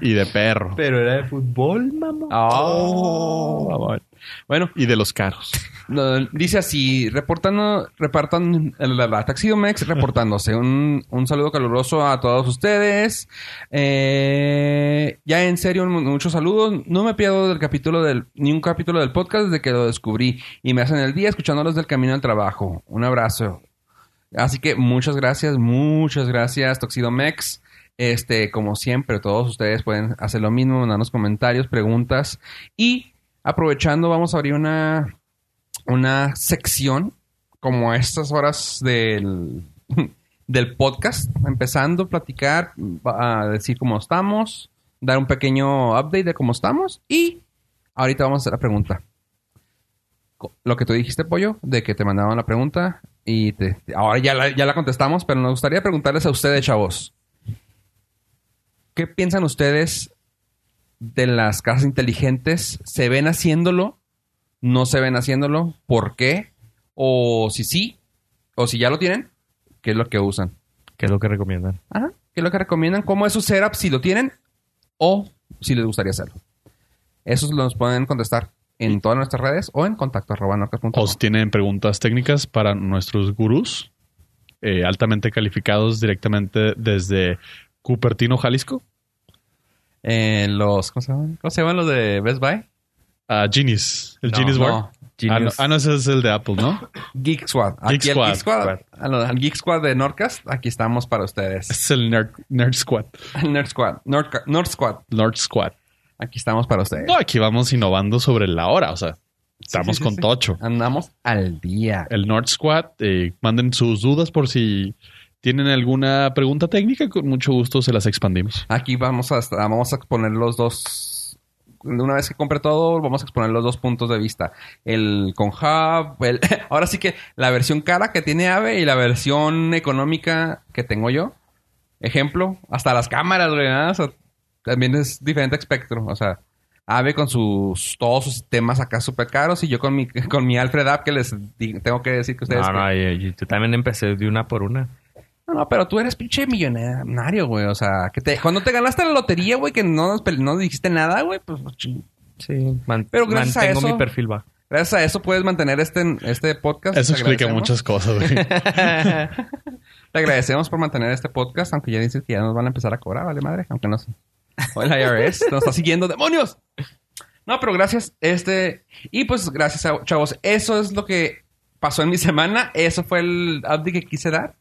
E: Y de perro.
D: Pero era de fútbol, mamá.
B: Ah. Oh.
E: mamón.
B: Bueno,
E: Ah, Y de los caros.
B: no, dice así, reportando, repartan, la, la, Taxidomex reportándose. Un, un saludo caluroso a todos ustedes. Eh, ya en serio, mu- muchos saludos. No me pierdo del capítulo del, ni un capítulo del podcast desde que lo descubrí. Y me hacen el día escuchándolos del camino al trabajo. Un abrazo. Así que muchas gracias, muchas gracias, Toxidomex. Este, como siempre, todos ustedes pueden hacer lo mismo, mandarnos comentarios, preguntas. Y aprovechando, vamos a abrir una, una sección como a estas horas del, del podcast. Empezando a platicar, a decir cómo estamos, dar un pequeño update de cómo estamos. Y ahorita vamos a hacer la pregunta. Co- Lo que tú dijiste, Pollo, de que te mandaban la pregunta y te, ahora ya la, ya la contestamos, pero nos gustaría preguntarles a ustedes, chavos. ¿Qué piensan ustedes de las casas inteligentes? ¿Se ven haciéndolo? ¿No se ven haciéndolo? ¿Por qué? ¿O si sí? ¿O si ya lo tienen? ¿Qué es lo que usan?
D: ¿Qué es lo que recomiendan?
B: Ajá. ¿Qué es lo que recomiendan? ¿Cómo es su setup si lo tienen? ¿O si les gustaría hacerlo? Esos los pueden contestar en todas nuestras redes o en contacto arroba norcas.com.
E: o si tienen preguntas técnicas para nuestros gurús eh, altamente calificados directamente desde Cupertino, Jalisco,
B: Eh, los, ¿cómo se llaman? ¿Cómo se llaman los de Best Buy?
E: a Genius, el Genius
B: No,
E: Bar.
B: no.
E: Ah, no, ah, no, ese es el de Apple, ¿no?
B: Geek Squad. Aquí
E: Geek
B: el Geek
E: Squad.
B: Squad. Al, al Geek Squad de Nordcast. Aquí estamos para ustedes.
E: es el Nerd, Nerd Squad.
B: El Nerd Squad. Nordca- Nord Squad.
E: Nerd Squad.
B: Aquí estamos para ustedes.
E: No, aquí vamos innovando sobre la hora, o sea, estamos
B: sí, sí,
E: con
B: sí.
E: Tocho.
B: Andamos al día.
E: El Nerd Squad, eh, manden sus dudas por si tienen alguna pregunta técnica, con mucho gusto se las expandimos.
B: Aquí vamos a, vamos a exponer los dos. Una vez que compre todo, vamos a exponer los dos puntos de vista. El con Hub, el- ahora sí que la versión cara que tiene Ave y la versión económica que tengo yo. Ejemplo, hasta las cámaras, güey. ¿no? O sea, también es diferente espectro. O sea, Ave con sus todos sus temas acá súper caros y yo con mi, con mi Alfred App que les di- tengo que decir que ustedes...
D: No,
B: que-
D: no, yo, yo- yo también empecé de una por una.
B: no, no, pero tú eres pinche millonario, güey. O sea, que te, cuando te ganaste la lotería, güey, que no nos, pel- no nos dijiste nada, güey, pues ching.
D: Sí.
B: Pero gracias a
D: mantengo
B: eso-
D: mi perfil bajo.
B: gracias a eso puedes mantener este, este podcast.
E: Eso
B: Te
E: explica
B: agradecemos.
E: muchas cosas, güey.
B: Te agradecemos por mantener este podcast, aunque ya dices que ya nos van a empezar a cobrar, vale madre, aunque no sé. O el IRS nos está siguiendo, demonios. No, pero gracias, este, y pues gracias a chavos, eso es lo que pasó en mi semana, eso fue el update que quise dar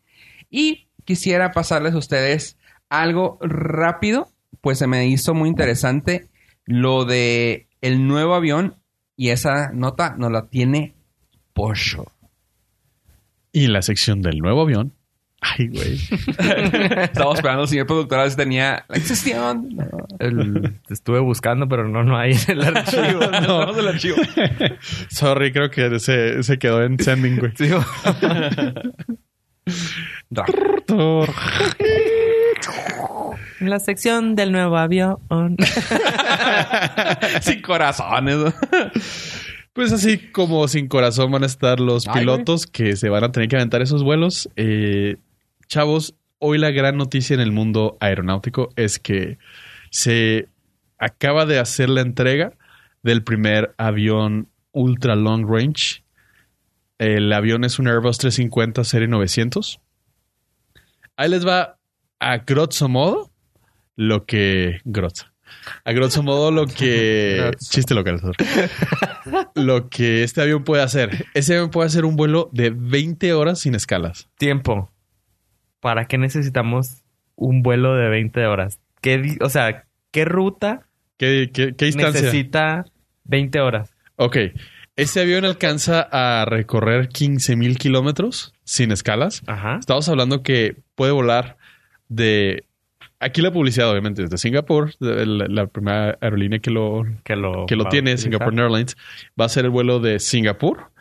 B: y quisiera pasarles a ustedes algo rápido, pues se me hizo muy interesante lo de el nuevo avión y esa nota nos la tiene Porsche.
E: Y en la sección del nuevo avión, Ay, güey.
B: Estamos esperando al señor productor a ver si tenía la excepción. No.
D: El- estuve buscando, pero no, no hay en el archivo.
B: No, tenemos el archivo.
E: Sorry, creo que se, se quedó en sending, güey.
D: Sí, güey.
B: Ra.
E: Tor-
D: La sección del nuevo avión.
B: Sin corazones. ¿no?
E: Pues así como sin corazón van a estar los
B: Ay,
E: pilotos que se van a tener que aventar esos vuelos. Eh, chavos, hoy la gran noticia en el mundo aeronáutico es que se acaba de hacer la entrega del primer avión ultra long range. El avión es un Airbus 350 serie 900. Ahí les va a grosso modo lo que... Grosso. A grosso modo lo que...
B: Grosso.
E: chiste local. sorry lo que este avión puede hacer. Ese avión puede hacer un vuelo de 20 horas sin escalas.
D: Tiempo. ¿Para qué necesitamos un vuelo de 20 horas? ¿Qué, di- o sea, ¿qué ruta
E: ¿Qué, qué- qué distancia?
D: necesita 20 horas?
E: Ok. Este avión alcanza a recorrer 15.000 kilómetros sin escalas.
D: Ajá.
E: Estamos hablando que puede volar de... Aquí la publicidad, obviamente, desde Singapur, de- la, la primera aerolínea que lo,
D: Que lo,
E: que lo
D: va a
E: tiene,
D: utilizar.
E: Singapore Airlines, va a ser el vuelo de Singapur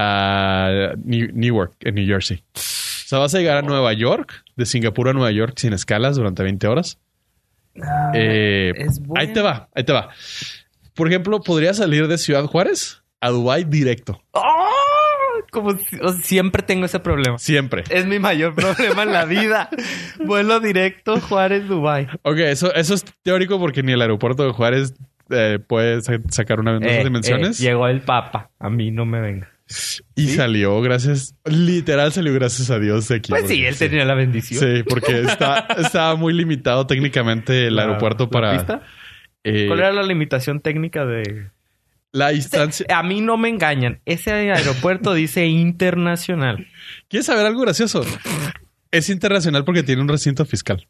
E: a New- Newark, en New Jersey. O sea, vas a llegar a Nueva York, de Singapur a Nueva York sin escalas durante 20 horas. Eh,
D: Ah, es bueno.
E: Ahí te va, ahí te va. Por ejemplo, podría salir de Ciudad Juárez a Dubái directo.
D: ¡Ah! Como si- o sea, siempre tengo ese problema.
E: Siempre.
D: Es mi mayor problema en la vida. Vuelo directo Juárez Dubai.
E: Ok, eso, eso es teórico porque ni el aeropuerto de Juárez eh, puede sa- sacar una de esas dimensiones.
D: Eh, llegó el Papa. A mí no me venga.
E: y salió gracias, literal salió gracias a Dios de aquí.
D: Pues sí,
E: porque-
D: él tenía la bendición.
E: Sí, porque está, estaba muy limitado técnicamente el
D: La-
E: aeropuerto
D: la
E: para
D: pista.
E: eh,
D: ¿Cuál era la limitación técnica de...?
E: la distancia.
D: A mí no me engañan. Ese aeropuerto dice internacional.
E: ¿Quieres saber algo gracioso? Es internacional porque tiene un recinto fiscal.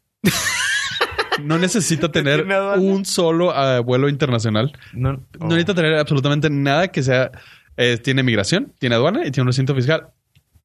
E: No necesita tener
D: tiene aduana. Oh.
E: un solo ah, vuelo internacional.
D: No,
E: No necesita tener absolutamente nada que sea. eh, tiene migración, tiene aduana y tiene un recinto fiscal.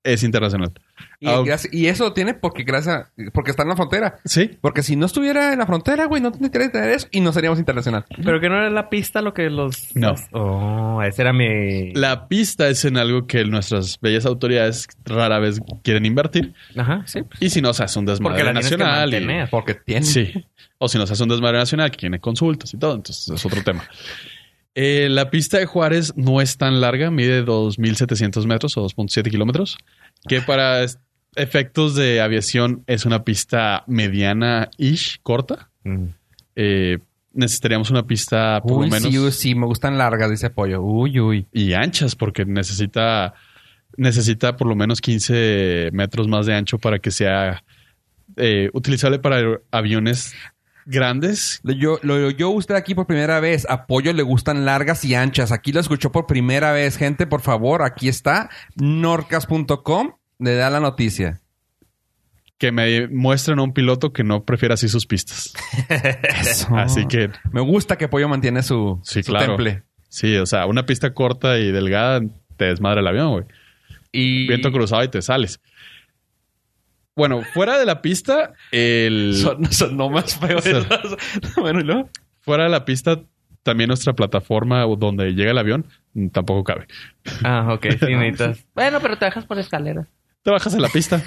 E: Es internacional.
B: Y,
E: Ah,
B: gracias- y eso lo tiene porque gracias, porque está en la frontera.
E: Sí.
B: Porque si no estuviera en la frontera, güey, no tendría que tener eso y no seríamos internacional.
D: Pero que no era la pista lo que los...
E: No.
D: los- Oh, ese era mi...
E: La pista es en algo que nuestras bellas autoridades rara vez quieren invertir.
D: Ajá, sí.
E: Y si no, se hace un desmadre
D: Porque la tienes que
E: nacional. y-
D: mantener.
B: Porque tiene.
E: Sí. O si nos hace un desmadre nacional que tiene consultas y todo, entonces es otro tema. Eh, la pista de Juárez no es tan larga, mide 2.700 metros o 2.7 kilómetros, que para es- efectos de aviación es una pista mediana-ish, corta.
D: Mm.
E: Eh, necesitaríamos una pista por
B: Uy,
E: lo menos
B: sí, uy, sí, me gustan largas, dice Pollo. Uy, uy.
E: y anchas, porque necesita, necesita por lo menos 15 metros más de ancho para que sea eh, utilizable para aer- aviones grandes
B: Yo, lo yo usted aquí por primera vez. A Pollo le gustan largas y anchas. Aquí lo escuchó por primera vez. Gente, por favor, aquí está. Norcas.com le da la noticia.
E: que me muestren a un piloto que no prefiera así sus pistas.
B: Ah.
E: Así que
B: Me gusta que Pollo mantiene su,
E: Sí,
B: su
E: claro.
B: temple.
E: sí, o sea, una pista corta y delgada te desmadra el avión, güey.
D: Y...
E: Viento cruzado y te sales. Bueno, fuera de la pista, el
B: más feos.
E: Son-
B: bueno, ¿y luego?
E: fuera de la pista también nuestra plataforma donde llega el avión mm, tampoco cabe.
D: Ah, ok. Sí, necesitas.
A: Bueno, pero te bajas por escalera.
E: Te bajas en la pista.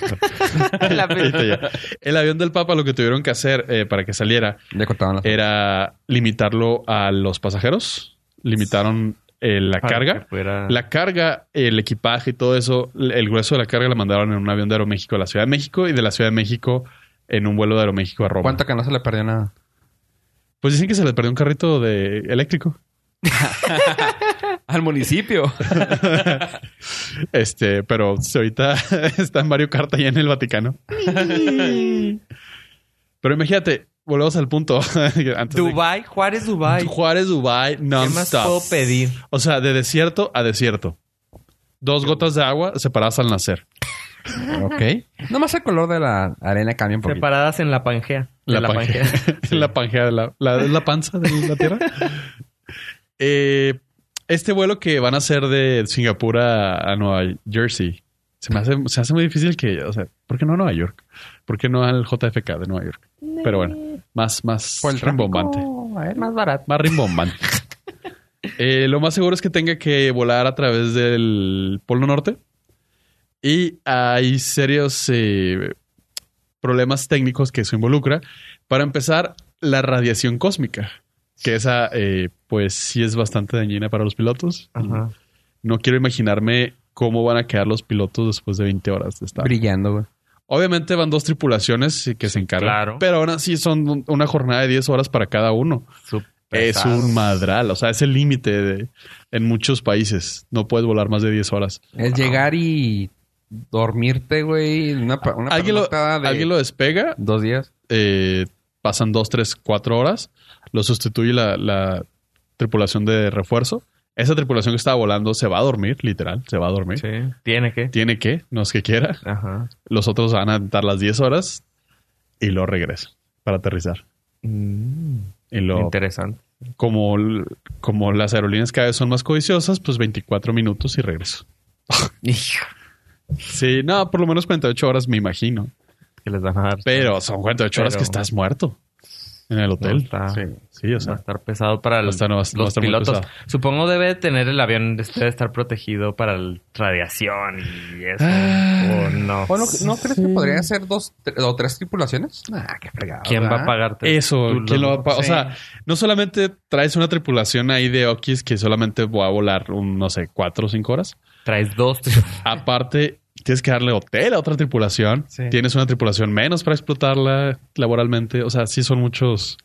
D: La
E: Y te llega. el avión del Papa lo que tuvieron que hacer eh, para que saliera
B: Ya cortaron
E: Eh,
B: las.
E: era limitarlo a los pasajeros. Limitaron eh, la
D: Para
E: carga.
D: que fuera-
E: La carga, el equipaje y todo eso, el grueso de la carga la mandaron en un avión de Aeroméxico a la Ciudad de México y de la Ciudad de México en un vuelo de Aeroméxico a Roma.
B: ¿Cuánto que no se le perdió nada?
E: Pues dicen que se le perdió un carrito de eléctrico.
B: Al municipio.
E: Este, pero si ahorita está en Mario Kart allá en el Vaticano. pero imagínate, volvemos al punto. Antes de-
D: Dubai, Juárez, Dubai.
E: Juárez, Dubai,
D: ¿Qué más puedo
E: non-stop.
D: pedir?
E: O sea, de desierto a desierto. Dos gotas de agua separadas al nacer.
B: ok. Nomás el color de la arena cambia un poquito.
D: Separadas en la Pangea. De
E: La Pangea. la pangea de la, la- la panza de la Tierra. Eh, este vuelo que van a hacer de Singapur a, a Nueva Jersey, Se me hace, se hace muy difícil que, o sea, ¿por qué no a Nueva York? ¿Por qué no al JFK de Nueva York? Pero bueno, más, más
B: Por el
E: rimbombante.
D: Más barato.
E: Más rimbombante. Eh, lo más seguro es que tenga que volar a través del Polo Norte. Y hay serios eh, problemas técnicos que eso involucra. Para empezar, la radiación cósmica, que esa, eh, pues sí es bastante dañina para los pilotos.
D: Ajá.
E: No quiero imaginarme cómo van a quedar los pilotos después de 20 horas de estar.
B: Brillando, güey.
E: Obviamente van dos tripulaciones y que se encargan.
D: claro.
E: Pero aún así son un- una jornada de 10 horas para cada uno.
D: Pesado.
E: Es un madral. O sea, es el límite de- en muchos países. No puedes volar más de 10 horas.
B: Es llegar y dormirte, güey. Una, pa- una
E: Alguien lo,
B: pernoctada de
E: alguien lo despega,
B: dos días.
E: eh, pasan 2, 3, 4 horas, lo sustituye la, la tripulación de refuerzo. Esa tripulación que estaba volando se va a dormir, literal, se va a dormir.
D: Sí. Tiene que.
E: Tiene que, no es que quiera.
D: Ajá.
E: Los otros van a dar las 10 horas y lo regresan para aterrizar.
D: Mm,
E: Y lo
D: Interesante.
E: como, l- como las aerolíneas cada vez son más codiciosas, pues 24 minutos y regreso.
D: Hijo,
E: Sí, no, por lo menos 48 horas me imagino.
D: que les van a dar.
E: Pero son 48 horas
D: Pero-
E: que estás muerto en el hotel.
D: No, está-
E: sí. sí, o
D: va a
E: sea,
D: estar pesado para el-
E: está- no va a-
D: los
E: va a estar muy
D: pilotos.
E: pesado.
D: Supongo debe tener el avión, debe estar protegido para la radiación y eso.
E: Ah.
D: o no.
B: Bueno, ¿no crees que podría ser dos tre- o tres tripulaciones? Ah, qué fregado.
D: ¿Quién va a
B: ¿verdad?
D: pagarte?
E: eso,
D: Tú
E: ¿quién lo va a pa- O
B: sí.
E: sea, no solamente traes una tripulación ahí de Okis que solamente va a volar, un, no sé, 4 o 5 horas.
D: Traes dos.
E: Aparte, tienes que darle hotel a otra tripulación.
D: Sí.
E: Tienes una tripulación menos para explotarla laboralmente. O sea, sí son muchos,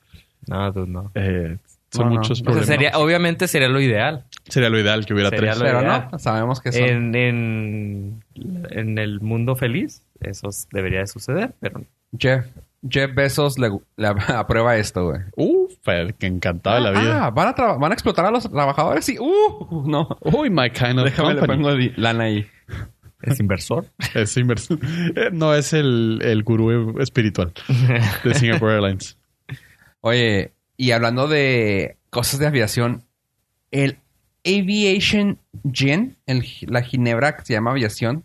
D: No, tú no.
E: eh, son
B: No, no.
E: muchos
B: O sea,
D: O sea,
E: problemas.
D: sería, obviamente sería lo ideal.
E: Sería lo ideal que hubiera
D: Sería
E: tres.
D: lo-
B: Pero
D: Realidad.
B: no, sabemos que son.
E: Eh,
D: En, en, en el mundo feliz, eso s- debería de suceder, pero
B: Jeff, Jeff Bezos le, le aprueba esto, güey.
E: Uf, el que encantaba la vida.
B: Ah, van a, traba- van a explotar a los trabajadores y... ¡Uh! No.
E: Uy, my kind of
B: Déjame le
E: company.
B: pongo di- lana ahí.
D: es inversor.
E: Es invers- Eh, No es el, el gurú espiritual de Singapore Airlines.
B: Oye, y hablando de cosas de aviación, el Aviation Gen, el- la ginebra que se llama aviación,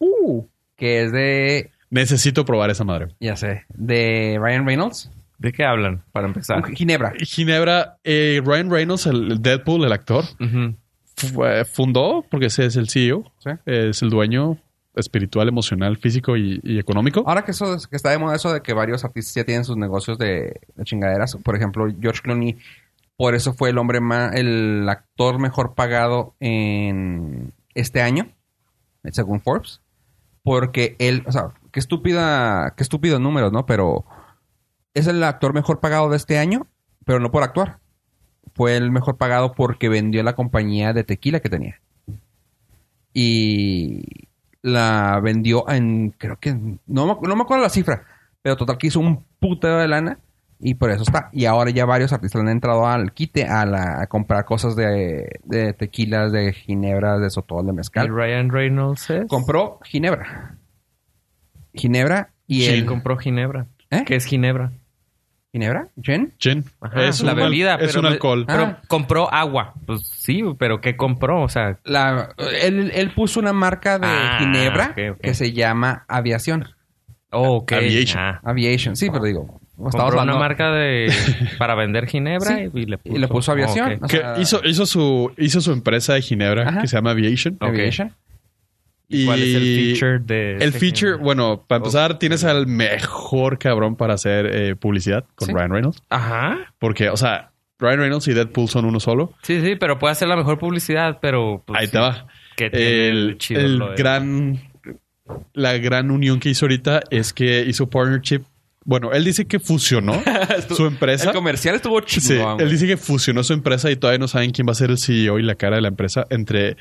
B: que es de,
E: Necesito probar esa madre.
B: ya sé, de Ryan Reynolds.
D: ¿De qué hablan? Para empezar.
B: Ginebra.
E: Ginebra, eh, Ryan Reynolds, el el Deadpool, el actor,
D: Ujú.
E: fu- eh, fundó, porque ese es el CEO,
B: Sí.
E: es el dueño espiritual, emocional, físico y, y económico.
B: Ahora que eso es- que está de moda eso de que varios artistas ya tienen sus negocios de, de chingaderas, por ejemplo, George Clooney, por eso fue el hombre más, el actor mejor pagado en este año, según Forbes, porque él, o sea, qué estúpida, qué estúpidos números, ¿no? Pero es el actor mejor pagado de este año, pero no por actuar. Fue el mejor pagado porque vendió la compañía de tequila que tenía. Y la vendió en, creo que, no, me- no me acuerdo la cifra, pero total que hizo un putero de lana y por eso está. Y ahora ya varios artistas le han entrado al quite a, la, a comprar cosas de, de tequilas, de ginebras, de sotol, de
D: Y
B: mezcal.
D: Ryan Reynolds es-
B: Compró ginebra. Ginebra y
D: Sí,
B: él...
D: compró Ginebra.
B: ¿Eh?
D: ¿Qué es Ginebra?
B: ¿Ginebra? ¿Gen?
E: Gin.
D: Ajá,
E: es
D: la
E: un al-
D: bebida.
E: es
D: pero
E: un
D: me-
E: alcohol.
D: Pero
B: Ah.
D: compró agua. Pues sí, pero ¿qué compró? O sea,
B: La, él, él puso una marca de
D: Ah,
B: Ginebra
D: ok, ok.
B: que se llama Aviación.
D: oh, ok.
E: Aviation.
D: Ah.
B: Aviation, sí, pero digo, estamos
D: Compró una
B: hablando-
D: marca de para vender Ginebra
B: Sí,
D: y, y le puso,
B: y le puso aviación.
D: Oh, ok.
B: O
E: Que
B: sea-
E: hizo, hizo, su, hizo su empresa de Ginebra
B: Ajá.
E: que se llama Aviation.
D: Ok.
B: Aviation.
D: ¿Y ¿Cuál es
E: Y-
D: el feature de
E: El
D: este
E: feature,
D: Ginebra?
E: bueno, para empezar, tienes al mejor cabrón para hacer eh, publicidad con
B: Sí.
E: Ryan Reynolds.
D: Ajá.
E: Porque, o sea, Ryan Reynolds y Deadpool son uno solo.
D: Sí, sí, pero puede hacer la mejor publicidad, pero pues,
E: Ahí
D: sí,
E: te va.
D: que tiene
E: El,
D: chido
E: el
D: lo de-
E: gran. La gran unión que hizo ahorita es que hizo partnership. Bueno, él dice que fusionó su empresa.
B: El comercial estuvo
E: Sí,
B: chingón.
E: él
B: güey.
E: dice que fusionó su empresa y todavía no saben quién va a ser el CEO y la cara de la empresa entre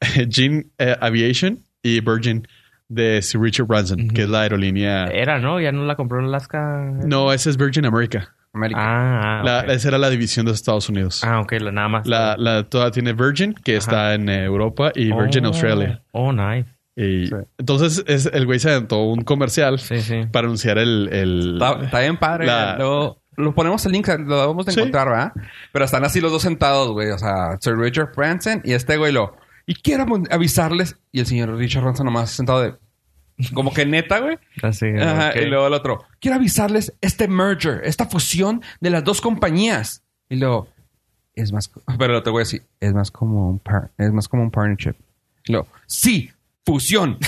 E: Gene eh, Aviation y Virgin de Sir Richard Branson, que es la aerolínea.
D: Era, ¿no? Ya no la compró en Alaska.
E: No, esa es Virgin America.
B: América.
D: Ah, ah,
E: La-
D: ok.
E: Esa era la división de Estados Unidos.
D: Ah, ok, la- nada más.
E: La, la toda tiene Virgin, que está en eh, Europa, y Virgin
D: Oh.
E: Australia.
D: Oh, nice.
E: Y Entonces, es, el güey se aventó un comercial
D: Sí, sí.
E: para anunciar el. el-
B: Está, está bien padre.
E: La-
B: Lo, lo ponemos el link, lo debemos de
E: Sí.
B: encontrar, ¿verdad? Pero están así los dos sentados, güey. O sea, Sir Richard Branson y este güey lo... Y quiero mon- avisarles. Y el señor Richard Branson nomás sentado de... Como que neta, güey.
D: Así,
B: Ajá,
D: ok.
B: Y luego el otro, quiero avisarles este merger, esta fusión de las dos compañías. Y luego, es más, co- pero el otro güey así, es más como un, par- es más como un partnership. Y luego, sí, fusión.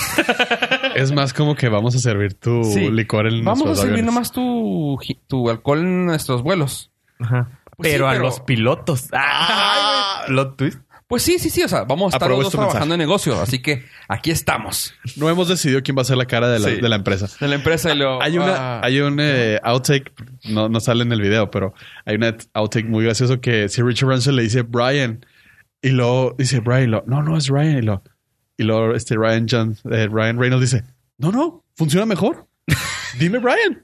E: Es más como que vamos a servir tu
B: Sí.
E: licor en
B: Vamos a
E: nuestros
B: servir
E: aviones.
B: nomás tu, ji- tu alcohol en nuestros vuelos.
D: Ajá.
B: Pues sí,
D: pero, a
B: pero-
D: los pilotos. ¡Ah! Plot twist.
B: Pues sí, sí, sí, o sea, vamos a estar
E: Apruebo
B: los dos
E: este
B: trabajando en negocio, así que aquí estamos.
E: No hemos decidido quién va a ser la cara de la,
B: Sí.
E: de la empresa.
B: De la empresa y luego...
E: Hay una,
B: ah,
E: hay un eh, outtake, no, no sale en el video, pero hay una outtake muy gracioso que si Richard Branson le dice Brian y luego dice Brian, y luego, no, no es Ryan y luego, y luego este Ryan John, eh, Ryan Reynolds dice, no, no, funciona mejor. Dime Brian.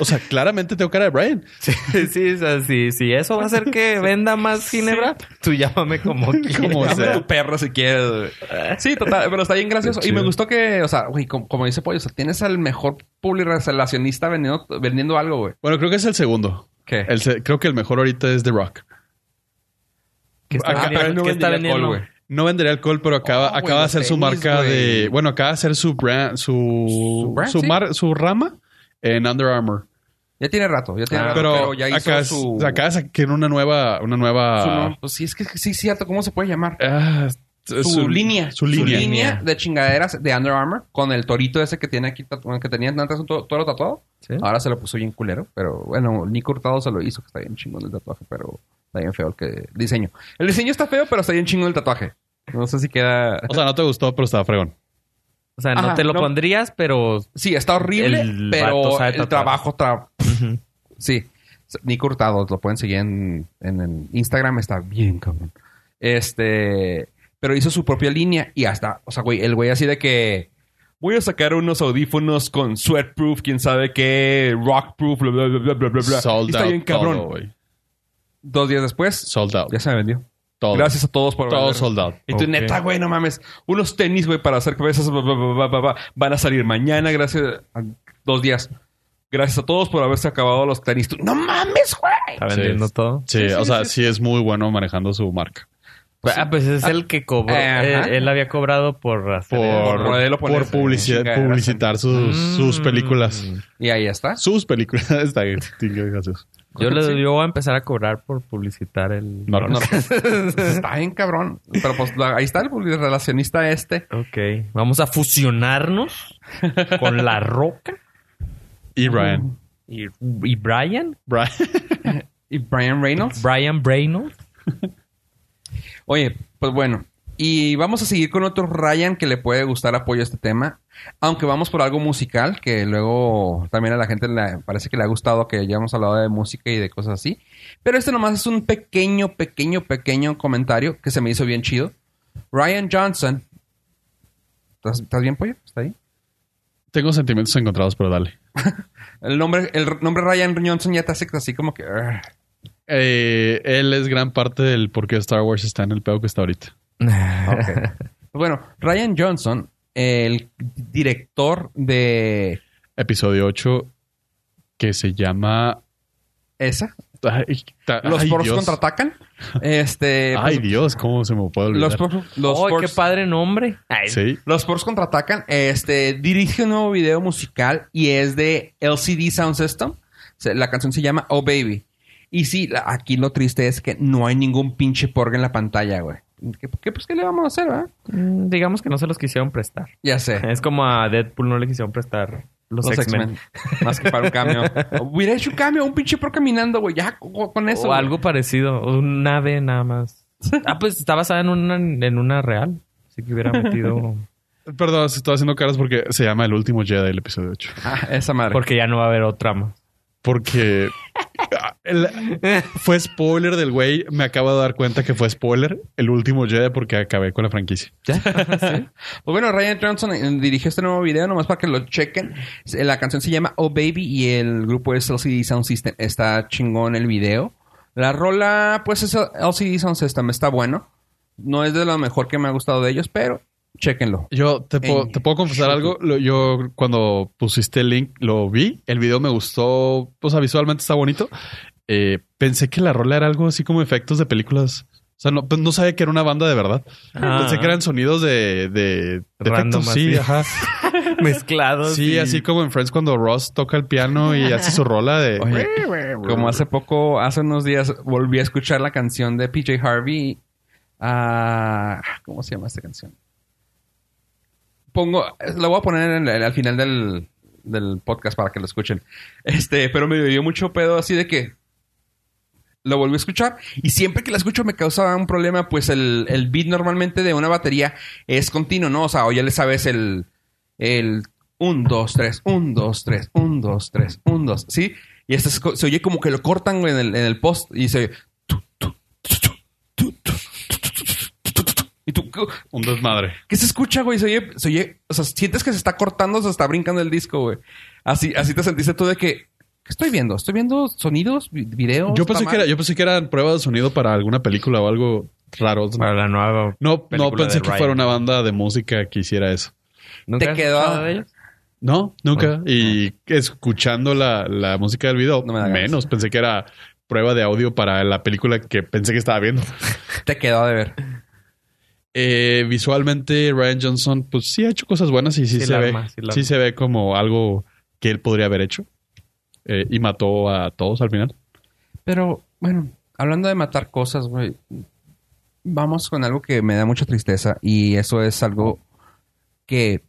E: O sea, claramente tengo cara de Brian.
D: Sí, sí, o sea, sí, sí, eso va a hacer que venda más ginebra, tú llámame como quieras.
E: Como
B: Dame
E: sea.
B: tu perro si quieres. güey. Sí, total, pero está bien gracioso.
E: Qué
B: Y me
E: chido.
B: gustó que, o sea, güey, como, como dice Pollo, o sea, tienes al mejor publirelacionista vendiendo, vendiendo algo, güey.
E: Bueno, creo que es el segundo.
B: ¿Qué?
E: El se- creo que el mejor ahorita es The Rock.
D: ¿Qué está
E: Ah,
D: vendiendo?
E: pero él no
D: ¿Qué está
B: vendía alcohol,
D: vendiendo?
B: güey.
E: No vendería alcohol, pero
B: Oh,
E: acaba,
B: güey,
E: acaba de
B: los
E: hacer su
B: tenis,
E: marca
B: güey.
E: de. Bueno, acaba de hacer su brand, su,
B: Su brand,
E: su
B: sí.
E: mar- su rama en Under Armour.
B: Ya tiene rato, ya tiene rato,
E: Ah, pero,
B: pero, ya hizo
E: acá, es-
B: su...
E: acá Ah. sacaron una nueva, una nueva.
B: su nom- pues sí, es que sí es cierto. ¿Cómo se puede llamar?
E: Ah,
B: Su, línea.
E: Su línea.
D: línea.
B: de chingaderas de Under Armour con el torito ese que tiene aquí, tatu- que tenía antes un to- toro tatuado.
D: Sí.
B: Ahora se lo puso bien culero, pero bueno, Nico Hurtado se lo hizo, que está bien chingón el tatuaje, pero está bien feo el que diseño. El diseño está feo, pero está bien chingón el tatuaje. No sé si queda...
E: O sea, no te gustó, pero estaba fregón.
D: O sea, no
B: Ajá,
D: te lo
B: no.
D: pondrías, pero
B: Sí, está horrible,
D: El vato
B: pero
D: sabe
B: el
D: tatuar.
B: trabajo está... Sí. Nico Hurtado, lo pueden seguir en, en, en Instagram, está bien, cabrón. Este... Pero hizo su propia línea y hasta... O sea, güey, el güey así de que... Voy a sacar unos audífonos con sweatproof, quién sabe qué, rockproof, bla, bla, bla, bla, bla, bla.
E: Sold
B: Y está
E: out.
B: bien cabrón.
E: todo, güey.
B: Dos días después,
E: Sold out.
B: ya se me vendió.
E: Todo.
B: Gracias a todos por
E: Todo
B: vender.
E: sold out.
B: Y tú,
D: Ok.
B: neta, güey, no mames. Unos tenis, güey, para hacer cabezas ba, ba, ba, ba, ba, ba, van a salir mañana, gracias a dos días. Gracias a todos por haberse acabado los tenis. Tú, no mames, güey.
D: está vendiendo
E: Sí.
D: todo.
E: Sí, o sea, sí. es muy bueno manejando su marca.
D: Ah, pues es el que cobró.
B: Eh, Ajá.
D: Él, él había cobrado por hacer
E: Por,
B: por modelo, por
E: por
B: eso,
E: publici-
B: chinga,
E: publicitar sus,
D: Mm.
E: sus películas.
B: Y ahí está.
E: Sus películas. Está bien. Gracias.
D: Yo, le,
B: Sí.
D: yo voy a empezar a cobrar por publicitar el...
E: No, no.
B: Pues, está bien, cabrón. Pero pues la- ahí está el relacionista este.
D: Ok, vamos a fusionarnos con La Roca
E: Y
B: Mm.
E: Brian.
D: y, y Brian,
E: Brian.
B: Y Brian Reynolds.
D: Brian Reynolds.
B: Oye, pues bueno. Y vamos a seguir con otro Ryan que le puede gustar apoyo a este tema. Aunque vamos por algo musical, que luego también a la gente le parece que le ha gustado que ya hemos hablado de música y de cosas así. Pero este nomás es un pequeño, pequeño, pequeño comentario que se me hizo bien chido. Ryan Johnson. ¿Estás, estás bien, pollo? ¿Está ahí?
E: Tengo sentimientos encontrados, pero dale.
B: El nombre, el nombre Ryan Johnson ya te hace así como que. ah, "Ugh".
E: Eh, él es gran parte del por qué Star Wars está en el pedo que está ahorita.
B: Bueno, Ryan Johnson, el director de
E: Episodio 8 que se llama...
B: esa,
E: Ay, ta- eh,
B: Los
E: ay,
B: Poros
E: Dios.
B: contraatacan. Este.
E: Ay,
B: pues,
E: Dios, ¿cómo se me puede olvidar?
B: los Poros- los
D: ¡Ay, qué
B: Poros-
D: padre nombre! Ay,
E: Sí.
B: los Poros contraatacan. Este dirige un nuevo video musical y es de LCD Sound System. Se- La canción se llama Oh Baby. Y sí, la- aquí lo triste es que no hay ningún pinche porga en la pantalla, güey. ¿Qué, qué- pues, ¿qué le vamos a hacer, verdad?
D: mm, Digamos que no se los quisieron prestar.
B: Ya sé.
D: Es como a Deadpool no le quisieron prestar los, X-Men.
B: Más que para un cambio. Hubiera hecho un cambio, un pinche por caminando, güey. Ya co- con eso.
D: O
B: güey.
D: algo parecido. o Un ave nada más. Ah, pues está basada en una, en una real. Así que hubiera metido...
E: Perdón, estoy haciendo caras porque se llama El Último Jedi, el episodio 8.
B: Ah, esa madre.
D: Porque ya no va a haber otra más.
E: Porque... Ah, el- fue spoiler del güey. Me acabo de dar cuenta que fue spoiler el último Jedi porque acabé con la franquicia.
B: Pues bueno, Ryan Johnson eh, dirigió este nuevo video, nomás para que lo chequen. Eh, La canción se llama Oh Baby y el grupo es LCD Sound System. Está chingón el video. La rola, pues es LCD Sound System, está bueno. No es de lo mejor que me ha gustado de ellos, pero chequenlo.
E: Yo te, puedo-
B: En
E: te puedo confesar algo. Lo- yo cuando pusiste el link lo vi. El video me gustó. O sea, visualmente está bonito. Eh, pensé que la rola era algo así como efectos de películas O sea, no, pues no sabía que era una banda de verdad.
D: Ah.
E: Pensé que eran sonidos de, de, de
D: Random,
E: efectos. Sí,
D: así. Ah,
E: ajá.
D: Mezclados.
E: Sí,
D: y-
E: así como en Friends cuando Ross toca el piano y hace su rola de...
B: Oye, como hace poco, hace unos días, volví a escuchar la canción de PJ Harvey. Ah, ¿Cómo se llama esta canción? Pongo, la voy a poner en el- al final del, del podcast para que lo escuchen. Este, pero me dio mucho pedo así de que lo volví a escuchar y siempre que la escucho me causa un problema, pues el, el beat normalmente de una batería es continuo, ¿no? O sea, o ya le sabes el, el 1, 2, 3, 1, 2, 3, 1, 2, 3, 1, 2, ¿sí? Y este es co- se oye como que lo cortan güey, en el, en el post y se oye... tu, tu, tu, tu, tu, tu, tu, tu, tu, tu. Y tú, ¿qué-
E: Un desmadre.
B: ¿qué se escucha, güey? Se oye, se oye, o sea, sientes que se está cortando, se está brincando el disco, güey. Así, así te sentiste tú de que, ¿qué estoy viendo? ¿Estoy viendo sonidos, vi- videos?
E: Yo pensé,
B: ¿Está
E: que era,
B: mal?
E: yo pensé que eran pruebas de sonido para alguna película o algo raro.
D: Para la nueva.
E: No, no
D: película
E: pensé
D: de
E: que
D: Ryan.
E: fuera una banda de música que hiciera eso.
D: ¿Nunca has
B: quedó-
D: escuchado de ellos?
E: No, nunca. y escuchando la, la música del video,
B: No me da ganas.
E: menos. Pensé que era prueba de audio para la película que pensé que estaba viendo.
B: Te quedó de ver.
E: Eh, visualmente, Ryan Johnson, pues sí ha hecho cosas buenas y sí,
D: Sí
E: se
D: la
E: ve.
D: arma, sí la
E: sí
D: arma.
E: se ve como algo que él podría haber hecho. Eh, y mató a todos al final.
B: Pero, bueno, hablando de matar cosas, güey, vamos con algo que me da mucha tristeza y eso es algo que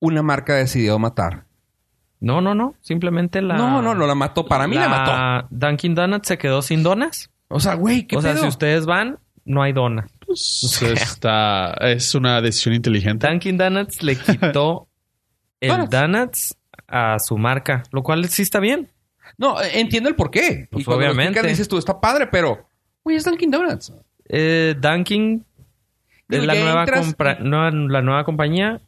B: una marca decidió matar.
D: No, no, no. Simplemente la.
B: No, no, no la mató. Para mí la mató.
D: Dunkin' Donuts se quedó sin donas.
B: O sea, güey, ¿qué
D: o sea,
B: pedo?
D: si ustedes van, no hay donas.
E: Pues está, es una decisión inteligente.
D: Dunkin' Donuts le quitó el
B: Donuts.
D: Donuts a su marca, lo cual sí está bien.
B: No, eh, entiendo el por qué.
D: Pues,
B: y cuando obviamente.
D: obviamente.
B: dices tú, está padre, pero... Güey, es Dunkin' Donuts.
D: Eh, Dunkin' es
B: Digo,
D: la
B: ya
D: nueva,
B: entras-
D: compra- nueva- la nueva compañía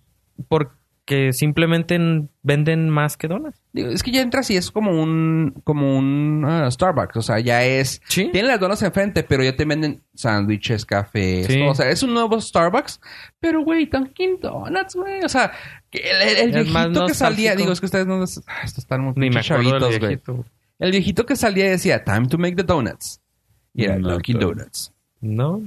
D: porque simplemente n- venden más que donuts.
B: Digo, es que ya entras y es como un... Como un ah, Starbucks. O sea, ya es...
D: Sí.
B: Tienen las donas enfrente, pero ya te venden sándwiches, cafés.
D: Sí.
B: todo. O sea, es un nuevo Starbucks. Pero, güey, Dunkin' Donuts, güey. O sea, que el, el- el
D: Es más
B: viejito que salía...
D: nostálgico.
B: Digo, es que ustedes no... les- Ah, estos están muy
D: Ni me
B: pinches
D: acuerdo
B: chavitos,
D: del
B: güey.
D: viejito.
B: El viejito que salía decía, time to make the donuts. Y era
E: No,
B: Dunkin'
E: pero-
B: Donuts.
D: No.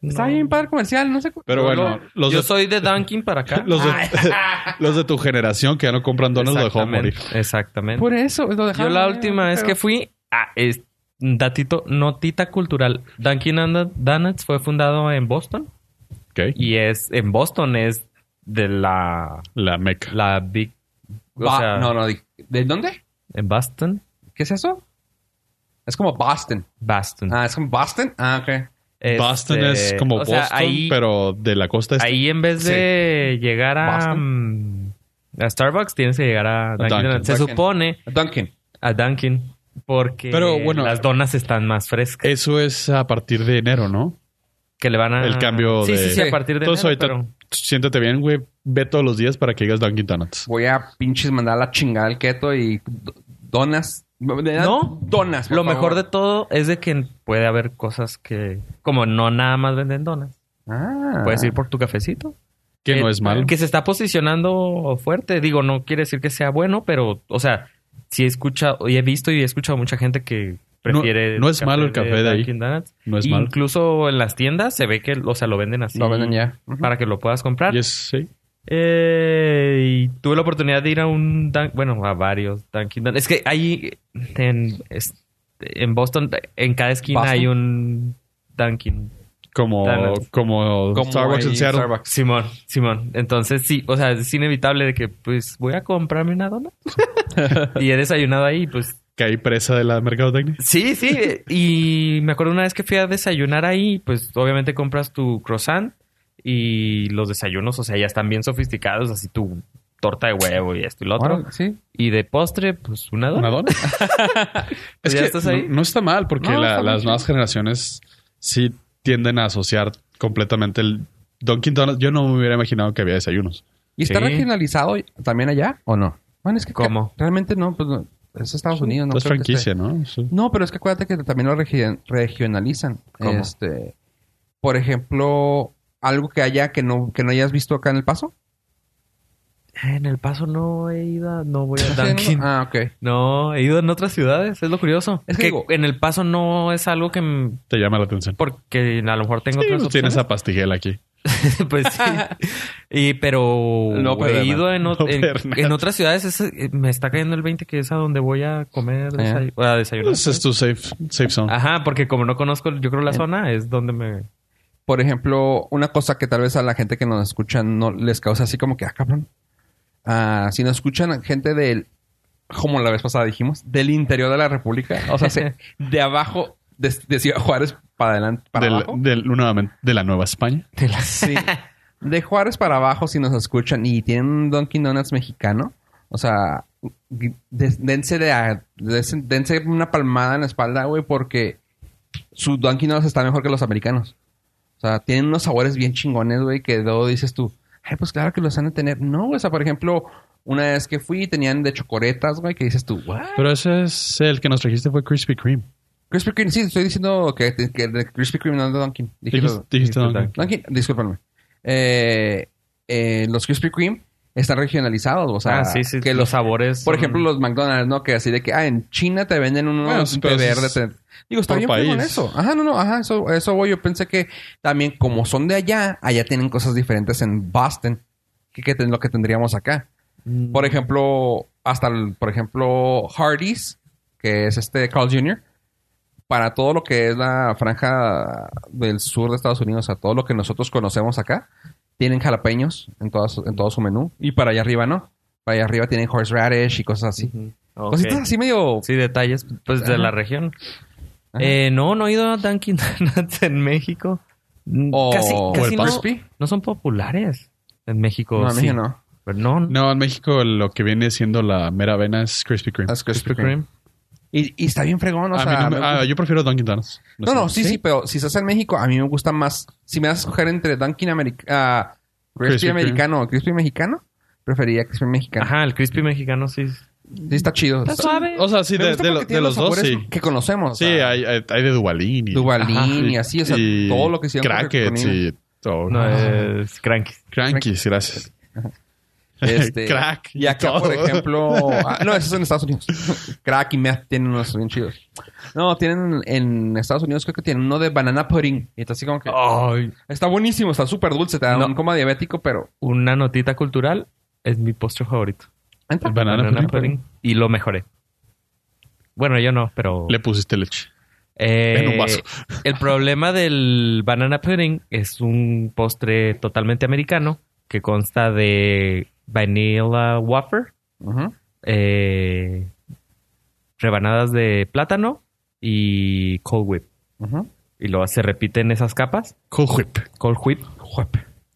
B: Está
D: no.
B: bien padre comercial, no sé... cu-
E: Pero bueno, los
D: Yo
E: de,
D: soy de Dunkin' para acá. Ah,
E: los, de, los de tu generación que ya no compran donos lo dejó
D: Exactamente,
E: morir.
D: Exactamente.
B: Por eso, lo
D: Yo
B: dejaron
D: la
B: ahí,
D: última
B: ¿no?
D: vez que
B: Pero-
D: fui a es- datito, notita cultural. Dunkin' Donu- Donuts fue fundado en Boston
E: Ok.
D: y es en Boston es de la
E: La meca.
D: la big o
B: Ba-
D: sea,
B: no, no, di- ¿de dónde?
D: en Boston,
B: ¿Qué es eso? Es como Boston.
D: Boston.
B: Ah, es como Boston. Ah, ok.
E: Boston es
D: Este,
E: como
D: o
E: Boston,
D: sea, ahí,
E: pero de la costa este.
D: ahí en vez de llegar a,
B: Boston.
D: mm, a Starbucks tienes que llegar a Dunkin'
E: Dunkin'.
D: Donuts. Se
B: Dunkin'.
D: supone
B: Dunkin.
D: a Dunkin' porque
E: Pero, bueno,
D: las donas están más frescas.
E: Eso es a partir de enero, ¿no?
D: que le van a
E: El cambio
D: sí,
E: de-
D: sí sí
B: Sí.
D: a partir de
E: Entonces
D: enero,
E: ahorita siéntate bien, güey. Ve todos los días para que digas Dunkin' Donuts.
B: Voy a pinches mandar la chingada al keto y do- donas. Me dan
D: No.
B: Donas.
D: pero
B: por
D: lo
B: favor.
D: mejor de todo es de que puede haber cosas que como no nada más venden donas
B: Ah.
D: puedes ir por tu cafecito
E: Que no es malo.
D: Eh, que se está posicionando fuerte digo no quiere decir que sea bueno pero o sea sí he escuchado y he visto y he escuchado mucha gente que prefiere
E: no es malo el café de ahí.
D: Dunkin' Donuts.
E: No es
D: Y
E: malo.
D: incluso en las tiendas se ve que o sea lo venden así
B: Lo venden ya. Ujú.
D: para que lo puedas comprar
E: Y es- sí.
D: Eh, y tuve la oportunidad de ir a un Dunk- bueno, a varios Dunkin' Donuts. Es que ahí en, es- en Boston, en cada esquina
B: Boston.
D: hay un Dunkin'.
E: Como,
D: Donuts.
E: como,
B: Como
E: Starbucks
B: ahí
E: en Seattle.
B: Starbucks.
D: Simón, Simón. Entonces sí, o sea, es inevitable de que pues voy a comprarme una dona. y he desayunado ahí, pues
E: Que hay presa de la mercadotecnia.
D: sí, sí. Y me acuerdo una vez que fui a desayunar ahí, pues obviamente compras tu croissant y los desayunos, o sea, ya están bien sofisticados, así tu torta de huevo y esto y lo otro.
B: Órale, sí.
D: Y de postre, pues una dona.
E: ¿Una dona? es
D: ¿Ya
E: que
D: estás ahí?
E: No, no está mal porque
D: No,
E: la-
D: está muy
E: las
D: chido.
E: nuevas generaciones sí tienden a asociar completamente el Dunkin' Donuts. Yo no me hubiera imaginado que había desayunos.
B: ¿Y está
D: Sí.
B: regionalizado también allá o no? Bueno, es que.
D: ¿Cómo?
B: Realmente no, pues no. Es Estados Unidos, no
E: es
B: creo que esté.
E: franquicia, ¿no? Sí.
B: No, pero es que acuérdate que también lo regi- regionalizan.
D: ¿Cómo?
B: Este, por ejemplo, algo que haya que no, que no hayas visto acá en El Paso.
D: Ah, En El Paso no he ido, a- no voy a
B: ¿Estás haciendo?
D: Dunkin'.
B: Ah, ok.
D: No, he ido en otras ciudades, es lo curioso.
B: Es
D: Es
B: que
D: que,
B: digo-
D: en El Paso no es algo que... m-
E: Te llama la atención.
D: Porque a lo mejor tengo
E: Sí,
D: otras
E: pues, tienes
D: opciones.
E: a Pastiguel aquí.
D: pues sí. Y, pero
B: No, pero
D: he
B: además.
D: ido en, ot-
E: No,
D: en,
E: pero nada.
D: en otras ciudades. es- eh, me está cayendo el 20 que es a donde voy a comer
B: Ah.
D: desay- o a desayunar.
E: Ese Pues es tu safe, safe zone.
D: Ajá, porque como no conozco, yo creo la
B: Eh.
D: zona es donde me...
B: Por ejemplo, una cosa que tal vez a la gente que nos escuchan no les causa así como que, ah, cabrón. Ah, si nos escuchan a gente del, como la vez pasada dijimos, del interior de la República, o sea, se- de abajo, de, de Ciudad Juárez para adelante, para
E: Del-
B: abajo.
E: del- nuevamente, de la Nueva España.
B: Sí. De Juárez para abajo, si nos escuchan y tienen un Dunkin' Donuts mexicano, o sea, de- dense, de a- des- dense una palmada en la espalda, güey, porque su Dunkin' Donuts está mejor que los americanos. O sea, tienen unos sabores bien chingones, güey, que luego dices tú, ay, pues claro que los han de tener. No, güey, o sea, por ejemplo, una vez que fui, tenían de chocoretas, güey, que dices tú, ¿what?
E: Pero ese es el que nos trajiste fue Krispy Kreme.
B: Krispy Kreme, sí, estoy diciendo que, que de Krispy Kreme no es de Dunkin'. Dije
E: Dijiste,
B: lo-
E: dijiste,
D: Dunkin'.
E: Dunkin'.
B: Dunkin', discúlpame. Eh, eh, los Krispy Kreme están regionalizados, o sea,
D: ah, sí, sí.
B: que
D: los
B: los,
D: sabores...
B: por
D: son-
B: ejemplo, los McDonald's, ¿no? Que así de que, ah, en China te venden unos
E: Bueno,
B: un té
E: pero eso
B: verde.
E: es
B: te- Digo, está
E: por
B: bien con
E: país.
B: eso. Ajá, no, no, ajá, eso, eso voy. Yo pensé que también, como son de allá, allá tienen cosas diferentes en Boston que, que ten- lo que tendríamos acá.
D: Mm.
B: Por ejemplo, hasta, el- por ejemplo, Hardee's, que es este Carl Jr., para todo lo que es la franja del sur de Estados Unidos, o sea, todo lo que nosotros conocemos acá, tienen jalapeños en, todas, en todo su menú. Y para allá arriba no. Para allá arriba tienen horseradish y cosas así.
D: Ujú. Ok.
B: Cositas así medio...
D: Sí, detalles pues de
B: Ajá.
D: la región.
B: Ajá.
D: Eh, no, no he ido a Dunkin' Donuts en México. Mm,
B: O-
D: casi
B: o
D: casi
E: el
D: no,
B: Crispy.
D: no son populares en México.
B: no,
D: sí.
B: dije no.
D: Pero no,
E: No, en México lo que viene siendo la mera avena es Krispy Kreme.
B: Es Krispy
D: Krispy
B: Kreme.
D: Kreme.
B: Y, y está bien fregón, o
E: A mí
B: sea...
E: no me-
B: me
E: ah,
B: gusta.
E: yo prefiero Dunkin' Donuts.
B: No, no, sí, sí,
E: sé.
B: pero si estás en México, a mí me gusta más. Si me das a escoger entre Dunkin' Ameri- ah,
E: Krispy
B: Crispy
E: Kreme.
B: americano o Crispy mexicano, preferiría Crispy mexicano.
D: Ajá, el crispy mexicano sí.
B: Sí, está chido. Está-
E: O sea, sí,
B: Me
E: de,
B: gusta
E: de
B: porque
E: lo- de
B: tiene
E: los dos,
B: sabores
E: sí.
B: Que conocemos. o
E: Sí,
B: sea,
E: hay, hay, hay de Dubalín y...
B: Dubalín
D: Ajá.
B: y así, o sea,
E: y
B: todo lo que hicieron. con-
E: Crackets
B: con- eh,
E: y todo.
D: No, es cranky.
E: Crankies, gracias.
B: Este,
E: Crack
B: Y acá,
E: todo.
B: por ejemplo. ah, no, eso es en Estados Unidos. Crack y meth tienen unos bien chidos. No, tienen en Estados Unidos, creo que tienen uno de banana pudding. Y está así como que.
E: Oh.
D: Ay,
B: Está buenísimo, está súper dulce, te da
D: No.
B: un coma diabético, pero.
D: una notita cultural es mi postre favorito.
E: El banana pudding.
D: Y lo mejoré. Bueno, yo no, pero...
E: Le pusiste leche.
D: eh,
E: en un vaso.
D: El problema del banana pudding es un postre totalmente americano que consta de vanilla wafer,
B: Ujú.
D: eh, rebanadas de plátano y cold whip.
B: Ujú.
D: Y luego se repiten esas capas.
E: Cool whip.
D: Cold Whip.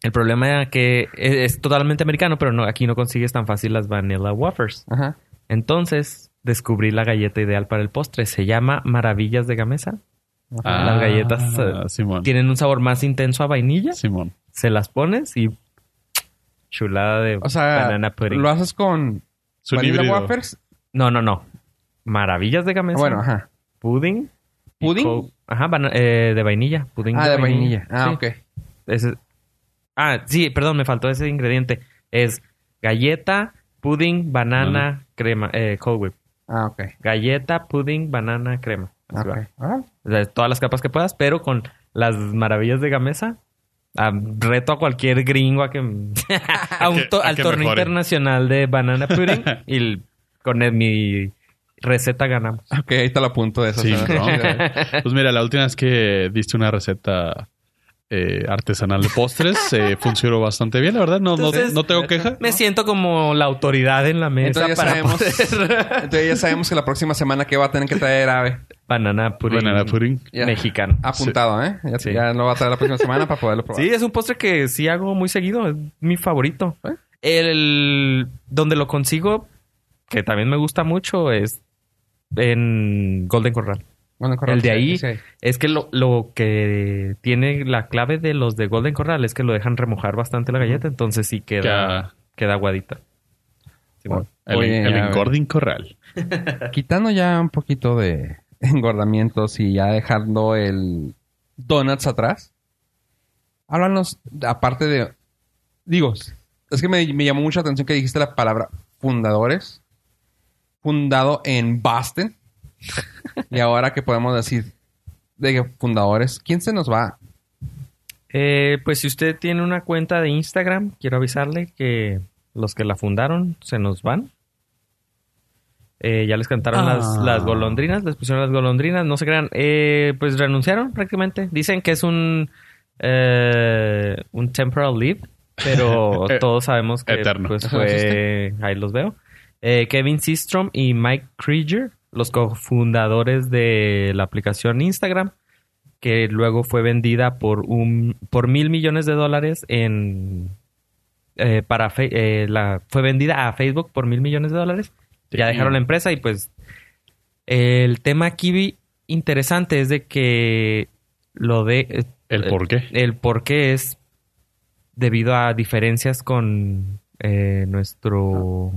D: El problema es que es, es totalmente americano, pero no, aquí no consigues tan fácil las Vanilla Wafers.
B: Ajá.
D: Entonces descubrí la galleta ideal para el postre. Se llama Maravillas de Gamesa.
E: Ah,
D: Las galletas, eh,
E: Simón.
D: Tienen un sabor más intenso a vainilla.
E: Simón.
D: Se las pones y chulada de
B: O sea,
D: banana pudding.
B: lo haces con
E: Es un
B: vanilla
E: híbrido.
B: wafers.
D: No, no, no. Maravillas de
B: Ah,
D: Gamesa.
B: Bueno, ajá.
D: Pudding. y
B: ¿Pudding?
D: co- Ajá, bana- eh, de vainilla. Pudding
B: Ah, de vainilla. Ah,
D: Sí.
B: ok.
D: Ese- ah, sí, perdón, me faltó ese ingrediente. Es galleta, pudding, banana, crema, eh, cold whip.
B: Ah, ok.
D: Galleta, pudding, banana, crema. Así
B: Ok.
D: va.
B: Ah,
D: O sea, todas las capas que puedas, pero con las maravillas de Gamesa. Ah, reto a cualquier gringo a que... a un
E: que-
D: to-
E: a
D: al
E: que
D: torneo
E: mejore.
D: internacional de banana pudding. y el- con el- mi receta ganamos.
B: Ok, ahí está la punto de eso.
E: Sí,
B: o sea,
E: ¿no? Pues mira, la última vez que diste una receta eh, artesanal de postres eh, funcionó bastante bien, la verdad. No, no-
D: Entonces-
E: no, tengo queja.
D: Me siento como la autoridad en la mesa
B: Entonces ya,
D: para
B: sabemos,
D: poder-
B: entonces ya sabemos que la próxima semana que va a tener que traer ave.
D: Banana pudding.
E: Banana pudding.
B: Ya.
D: mexicano.
B: Apuntado, ¿eh? Ya,
D: Sí.
B: ya lo va a traer la próxima semana para poderlo probar.
D: Sí, es un postre que sí hago muy seguido. Es mi favorito. ¿eh? El donde lo consigo, que también me gusta mucho, es en Golden Corral.
B: Bueno, correcto,
D: El de ahí.
B: sí, sí.
D: Es que lo, lo que tiene la clave de los de Golden Corral es que lo dejan remojar bastante la galleta, entonces sí queda,
E: Ya.
D: queda aguadita. Simón.
E: El,
B: Oye,
E: el
B: a ver.
E: engording corral.
B: Quitando ya un poquito de engordamientos y ya dejando el donuts atrás. Háblanos, aparte de... Digo, es que me, me llamó mucha atención que dijiste la palabra fundadores. Fundado en Boston. y ahora que podemos decir de que fundadores, ¿quién se nos va?
D: Eh, pues si usted tiene una cuenta de Instagram, quiero avisarle que los que la fundaron se nos van. Eh, ya les cantaron
B: Ah.
D: las, las golondrinas, les pusieron las golondrinas, no se crean. Eh, pues renunciaron prácticamente. Dicen que es un, eh, un temporal leave, pero
E: Eh,
D: todos sabemos que
E: eterno.
D: pues,
B: Ajá,
D: fue... Ahí los veo. Eh, Kevin Systrom y Mike Krieger, los cofundadores de la aplicación Instagram, que luego fue vendida por un por mil millones de dólares en eh, para Fe- eh, la fue vendida a Facebook por mil millones de dólares. Ya dejaron la empresa y pues el tema aquí interesante es de que lo de eh,
E: El por qué.
D: el por qué es debido a diferencias con eh, nuestro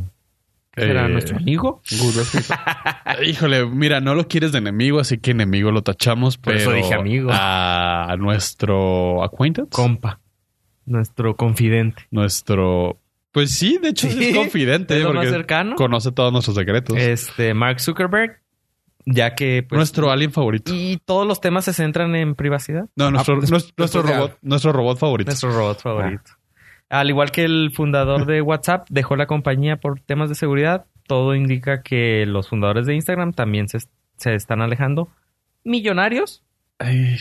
D: ¿qué será
E: Eh,
D: nuestro amigo
B: Google.
E: Híjole, mira, no lo quieres de enemigo, así que enemigo lo tachamos,
D: Por
E: pero
D: eso dije amigo.
E: a nuestro acquaintance,
D: compa nuestro confidente
E: nuestro pues sí, de hecho
D: Sí,
E: es confidente
D: es lo más
E: porque
D: cercano
E: conoce todos nuestros secretos.
D: este Mark Zuckerberg ya que pues
E: nuestro alien favorito.
D: y todos los temas se centran en privacidad
E: No, nuestro,
B: Ah, pues,
E: nuestro, nuestro
B: pues, ya.
E: robot, nuestro robot favorito.
D: nuestro robot favorito al igual que el fundador de WhatsApp dejó la compañía por temas de seguridad todo indica que los fundadores de Instagram también se, se están alejando millonarios
E: Ay,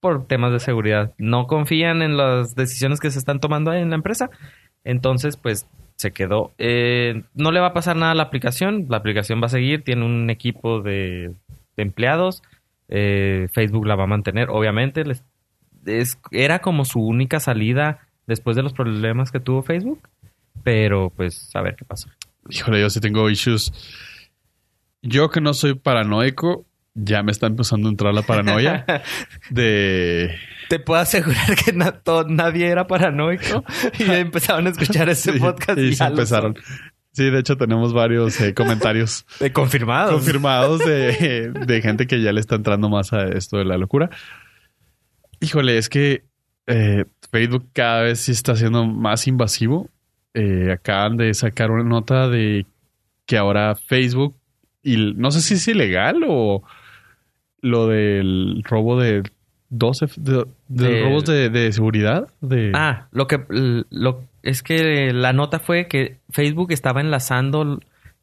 D: por temas de seguridad. No confían en las decisiones que se están tomando en la empresa. Entonces, pues se quedó. Eh, no le va a pasar nada a la aplicación. La aplicación va a seguir. Tiene un equipo de, de empleados. Eh, Facebook la va a mantener, obviamente. Les- es- era como su única salida después de los problemas que tuvo Facebook. Pero, pues, a ver qué pasó.
E: Híjole, yo sí tengo issues. Yo que no soy paranoico, ya me está empezando a entrar la paranoia de...
D: Te puedo asegurar que nadie era paranoico y empezaron a escuchar ese podcast.
E: y se empezaron. Sí, de hecho tenemos varios eh, comentarios
D: confirmados.
E: confirmados de, de gente que ya le está entrando más a esto de la locura. Híjole, es que eh, Facebook cada vez sí está siendo más invasivo. Eh, acaban de sacar una nota de que ahora Facebook, y no sé si es ilegal o lo del robo de 12 de, de
D: Del-
E: robos de, de seguridad. De,
D: Ah, lo que lo, es que la nota fue que Facebook estaba enlazando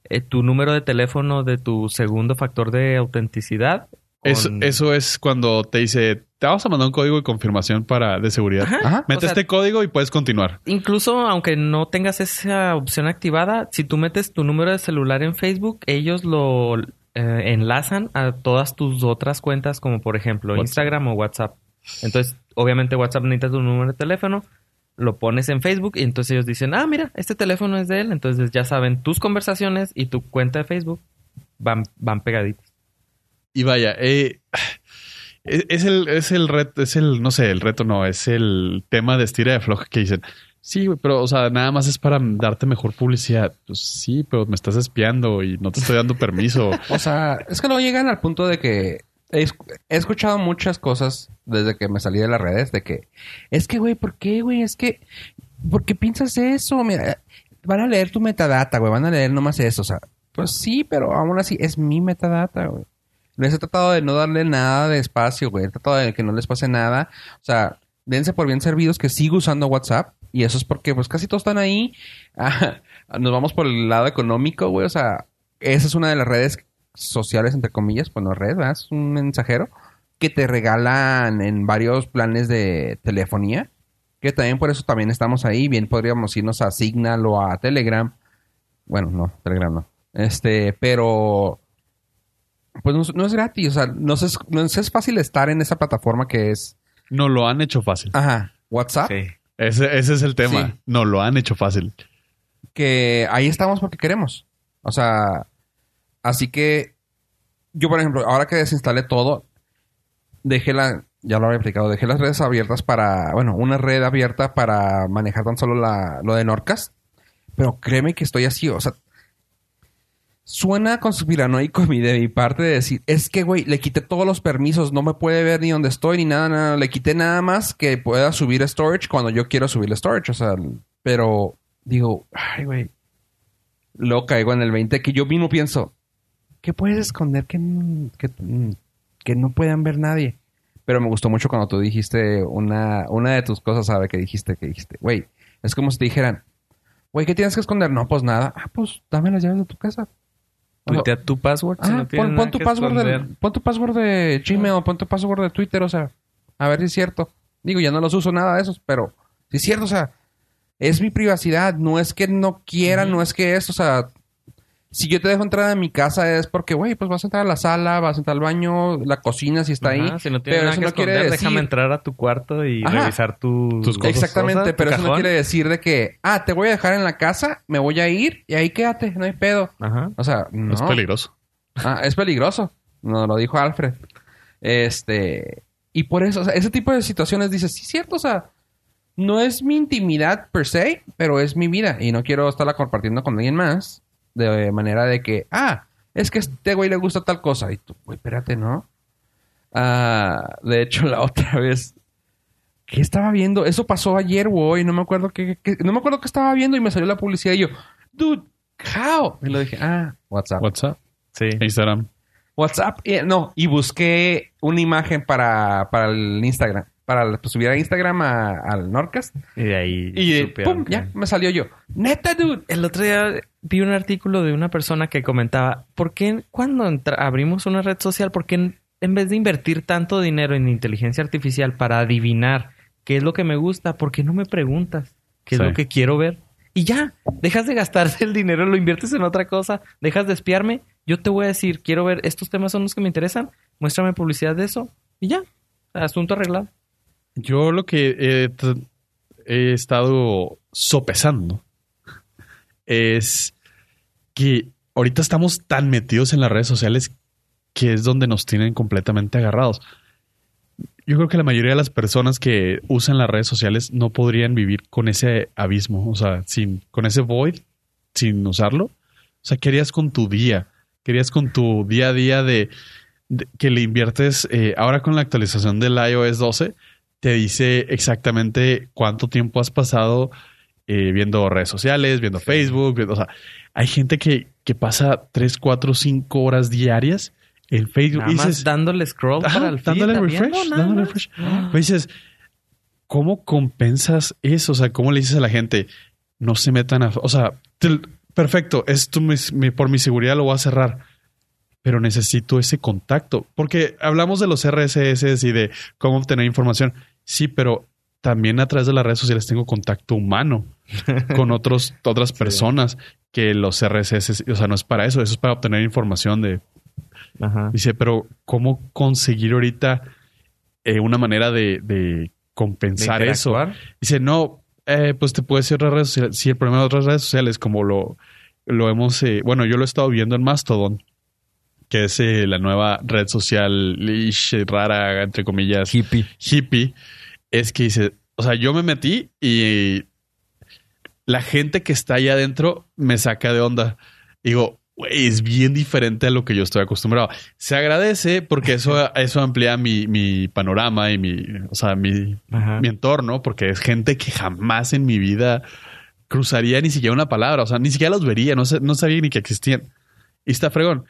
D: eh, tu número de teléfono de tu segundo factor de autenticidad. con-
E: Es- eso es cuando te dice, te vamos a mandar un código de confirmación para de seguridad.
D: Ajá.
B: Ajá.
E: Mete
D: o sea-
E: este código y puedes continuar.
D: Incluso aunque no tengas esa opción activada, si tú metes tu número de celular en Facebook, ellos lo eh, enlazan a todas tus otras cuentas, como por ejemplo
E: WhatsApp.
D: Instagram o WhatsApp. Entonces, obviamente WhatsApp necesita tu número de teléfono, lo pones en Facebook y entonces ellos dicen, ah, mira, este teléfono es de él. Entonces ya saben tus conversaciones y tu cuenta de Facebook van, van pegaditas.
E: Y vaya, eh, es, es el, es el reto, es el, no sé, el reto no, es el tema de estira de floja que dicen. Sí, güey, pero, o sea, nada más es para darte mejor publicidad. Pues sí, pero me estás espiando y no te estoy dando permiso.
B: O sea, es que no llegan al punto de que he, esc- he escuchado muchas cosas desde que me salí de las redes de que es que güey, ¿por qué, güey? Es que ¿por qué piensas eso? Mira, van a leer tu metadata, güey, van a leer nomás eso, o sea, pues sí, pero aún así es mi metadata, güey. Les he tratado de no darle nada de espacio, güey. He tratado de que no les pase nada. O sea, dense por bien servidos que sigo usando WhatsApp. Y eso es porque, pues, casi todos están ahí. Ah, nos vamos por el lado económico, güey. O sea, esa es una de las redes sociales, entre comillas, bueno, red, ¿verdad? Es un mensajero que te regalan en varios planes de telefonía. Que también por eso también estamos ahí. Bien podríamos irnos a Signal o a Telegram. Bueno, no, Telegram no. Este, pero... Pues no, es- no es gratis, o sea, no es, no es fácil estar en esa plataforma que es...
E: No lo han hecho fácil.
B: Ajá, WhatsApp.
E: Ese, ese es el tema.
B: Sí.
E: No lo han hecho fácil.
B: que ahí estamos porque queremos. O sea, así que yo, por ejemplo, ahora que desinstalé todo, dejé la, ya lo había explicado, dejé las redes abiertas para, bueno, una red abierta para manejar tan solo la, lo de Norcas. Pero créeme que estoy así, o sea, suena conspiranoico mi- de mi parte de decir, es que, güey, le quité todos los permisos, no me puede ver ni dónde estoy, ni nada, nada, le quité nada más que pueda subir storage cuando yo quiero subir storage, o sea, pero digo, ay, güey. Luego caigo en el 20 que yo mismo pienso, ¿qué puedes esconder que, n- que, mm, que no puedan ver nadie? Pero me gustó mucho cuando tú dijiste una, una de tus cosas, ¿sabes? Que dijiste, que dijiste, güey, es como si te dijeran, güey, ¿qué tienes que esconder? No, pues nada. Ah, pues dame las llaves de tu casa. O sea,
D: Tuitea tu password. si
B: Ah,
D: no
B: pon,
D: tienes
B: pon
D: nada
B: tu
D: que
B: password
D: esconder.
B: del- pon tu password de Gmail, o pon tu password de Twitter, o sea, a ver si es cierto. Digo, ya no los uso nada de esos, pero si es cierto, o sea, es mi privacidad, no es que no quiera, no es que es, o sea, si yo te dejo entrar a mi casa es porque, güey, pues vas a entrar a la sala, vas a entrar al baño, la cocina si está
D: Ajá,
B: ahí.
D: Si no tienes
B: pero
D: nada
B: eso
D: que
B: no quiere
D: esconder, déjame
B: decir-
D: entrar a tu cuarto y
B: Ajá.
D: revisar tu,
E: Tus cosas.
B: Exactamente,
D: cosas, tu
B: pero eso no
D: cajón.
B: quiere decir de que, ah, te voy a dejar en la casa, me voy a ir y ahí quédate, no hay pedo.
D: Ajá.
B: O sea, no.
E: Es peligroso.
B: Ah, es peligroso. Nos lo dijo Alfred. Este. Y por eso, o sea, ese tipo de situaciones dices, sí, cierto, o sea, no es mi intimidad per se, pero es mi vida y no quiero estarla compartiendo con alguien más de manera de que, ah, es que a este güey le gusta tal cosa. Y tú, güey, espérate, ¿no? Ah, de hecho, la otra vez, ¿qué estaba viendo? Eso pasó ayer, güey, no me acuerdo qué, qué- no me acuerdo qué estaba viendo y me salió la publicidad y yo, dude, how? Y lo dije, ah, WhatsApp.
E: WhatsApp,
D: Sí.
E: Instagram.
B: WhatsApp, eh, no, y busqué una imagen para, para el Instagram, para pues, subir a Instagram a- al Norcast.
D: Y de ahí.
B: Y eh,
D: supieron
B: pum,
D: que-
B: ya, me salió yo. Neta, dude.
D: El otro día vi un artículo de una persona que comentaba, ¿por qué cuando entra- abrimos una red social, por qué en, en vez de invertir tanto dinero en inteligencia artificial para adivinar qué es lo que me gusta, por qué no me preguntas qué
E: Sí.
D: es lo que quiero ver? Y ya, dejas de gastar el dinero, lo inviertes en otra cosa, dejas de espiarme, yo te voy a decir, quiero ver, estos temas son los que me interesan, muéstrame publicidad de eso y ya, asunto arreglado.
E: Yo lo que he, t- he estado sopesando es que ahorita estamos tan metidos en las redes sociales que es donde nos tienen completamente agarrados. Yo creo que la mayoría de las personas que usan las redes sociales no podrían vivir con ese abismo, o sea, sin, con ese void, sin usarlo. O sea, ¿qué harías con tu día? ¿Qué harías con tu día a día de, de- que le inviertes? eh, ahora con la actualización del iOS 12, te dice exactamente cuánto tiempo has pasado eh, viendo redes sociales, viendo Facebook. viendo- o sea, hay gente que, que pasa 3, 4, 5 horas diarias en Facebook.
D: Nada
E: y
D: más
E: dices,
D: dándole scroll
E: Ajá,
D: para el feed,
E: dándole
D: también,
E: refresh,
D: no, nada
E: dándole
D: más.
E: refresh.
D: Ah.
E: Pues dices, ¿cómo compensas eso? O sea, ¿cómo le dices a la gente? No se metan a... O sea, te- perfecto, esto me- me- por mi seguridad lo voy a cerrar. Pero necesito ese contacto. Porque hablamos de los RSS y de cómo obtener información. Sí, pero también a través de las redes sociales tengo contacto humano con otros, otras personas que los RSS, o sea, no es para eso, eso es para obtener información de
D: Ajá.
E: Dice, pero ¿cómo conseguir ahorita eh, una manera de, de compensar
D: de
E: eso?
D: interactuar.
E: Dice, no, eh, pues te puedes ir a otras redes sociales. Sí, el problema de otras redes sociales, como lo, lo hemos, eh, bueno, yo lo he estado viendo en Mastodon, que es eh, la nueva red social lish, eh, rara, entre comillas,
A: Hippie.
E: hippie, es que dice, o sea, yo me metí y la gente que está allá adentro me saca de onda. Digo, "Güey, es bien diferente a lo que yo estoy acostumbrado. Se agradece porque eso, eso amplía mi, mi panorama y mi, o sea, mi,
D: Ajá.
E: mi entorno, porque es gente que jamás en mi vida cruzaría ni siquiera una palabra, o sea, ni siquiera los vería, no, sé- no sabía ni que existían. Y está fregón.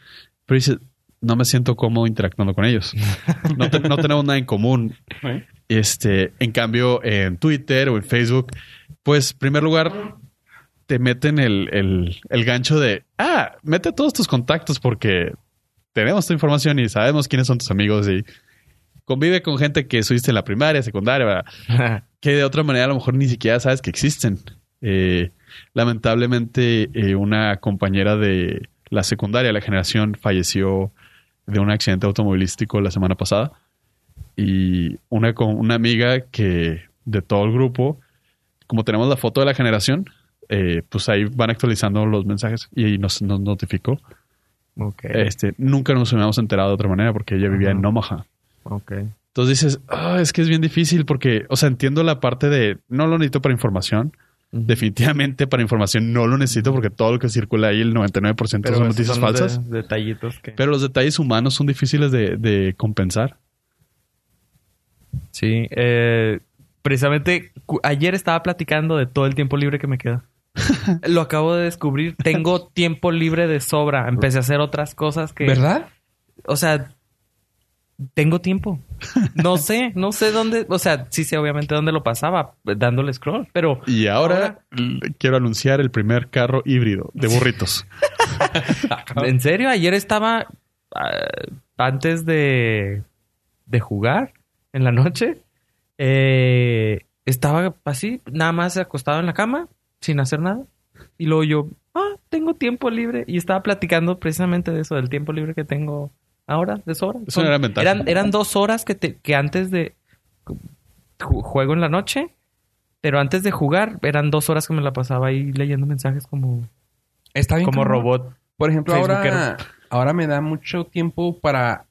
E: Pero dice, no me siento cómodo interactuando con ellos. No, te- no tenemos nada en común. Este, en cambio, en Twitter o en Facebook, pues, en primer lugar, te meten el, el- el gancho de, ah, mete todos tus contactos porque tenemos tu información y sabemos quiénes son tus amigos y convive con gente que estuviste en la primaria, secundaria, ¿verdad? que de otra manera a lo mejor ni siquiera sabes que existen. Eh, lamentablemente, eh, una compañera de la secundaria, la generación, falleció de un accidente automovilístico la semana pasada. Y una, co- una amiga que de todo el grupo, como tenemos la foto de la generación, eh, pues ahí van actualizando los mensajes y ahí nos, nos notificó.
D: Ok.
E: Este, nunca nos hubiéramos enterado de otra manera porque ella vivía en
D: Ajá.
E: Omaha.
D: Ok.
E: Entonces dices, "Ah, es que es bien difícil porque, o sea, entiendo la parte de no lo necesito para información. Definitivamente para información no lo necesito porque todo lo que circula ahí, el 99% son
D: esos
E: noticias
D: son los de-
E: falsas.
D: detallitos que...
E: Pero los detalles humanos son difíciles de, de compensar.
D: sí. eh, precisamente, cu- ayer estaba platicando de todo el tiempo libre que me queda. Lo acabo de descubrir. Tengo tiempo libre de sobra. Empecé a hacer otras cosas
B: eh,
D: que...
B: ¿Verdad?
D: O sea, tengo tiempo. No sé, no sé dónde... O sea, sí sé obviamente dónde lo pasaba, dándole scroll, pero...
E: Y ahora,
D: Ahora-
E: l- quiero anunciar el primer carro híbrido de burritos.
D: En serio, ayer estaba ah, antes de, de jugar en la noche. eh, estaba así, nada más acostado en la cama, sin hacer nada. Y luego yo, ah, tengo tiempo libre. Y estaba platicando precisamente de eso, del tiempo libre que tengo ahora, de sobra.
E: Es una gran ventaja.
D: eran, eran dos horas que, te- que antes de ju- juego en la noche, pero antes de jugar eran dos horas que me la pasaba ahí leyendo mensajes como,
B: Está bien.
D: como
B: cabrón.
D: robot.
B: Por ejemplo, ahora,
D: Facebookero.
B: ahora me da mucho tiempo para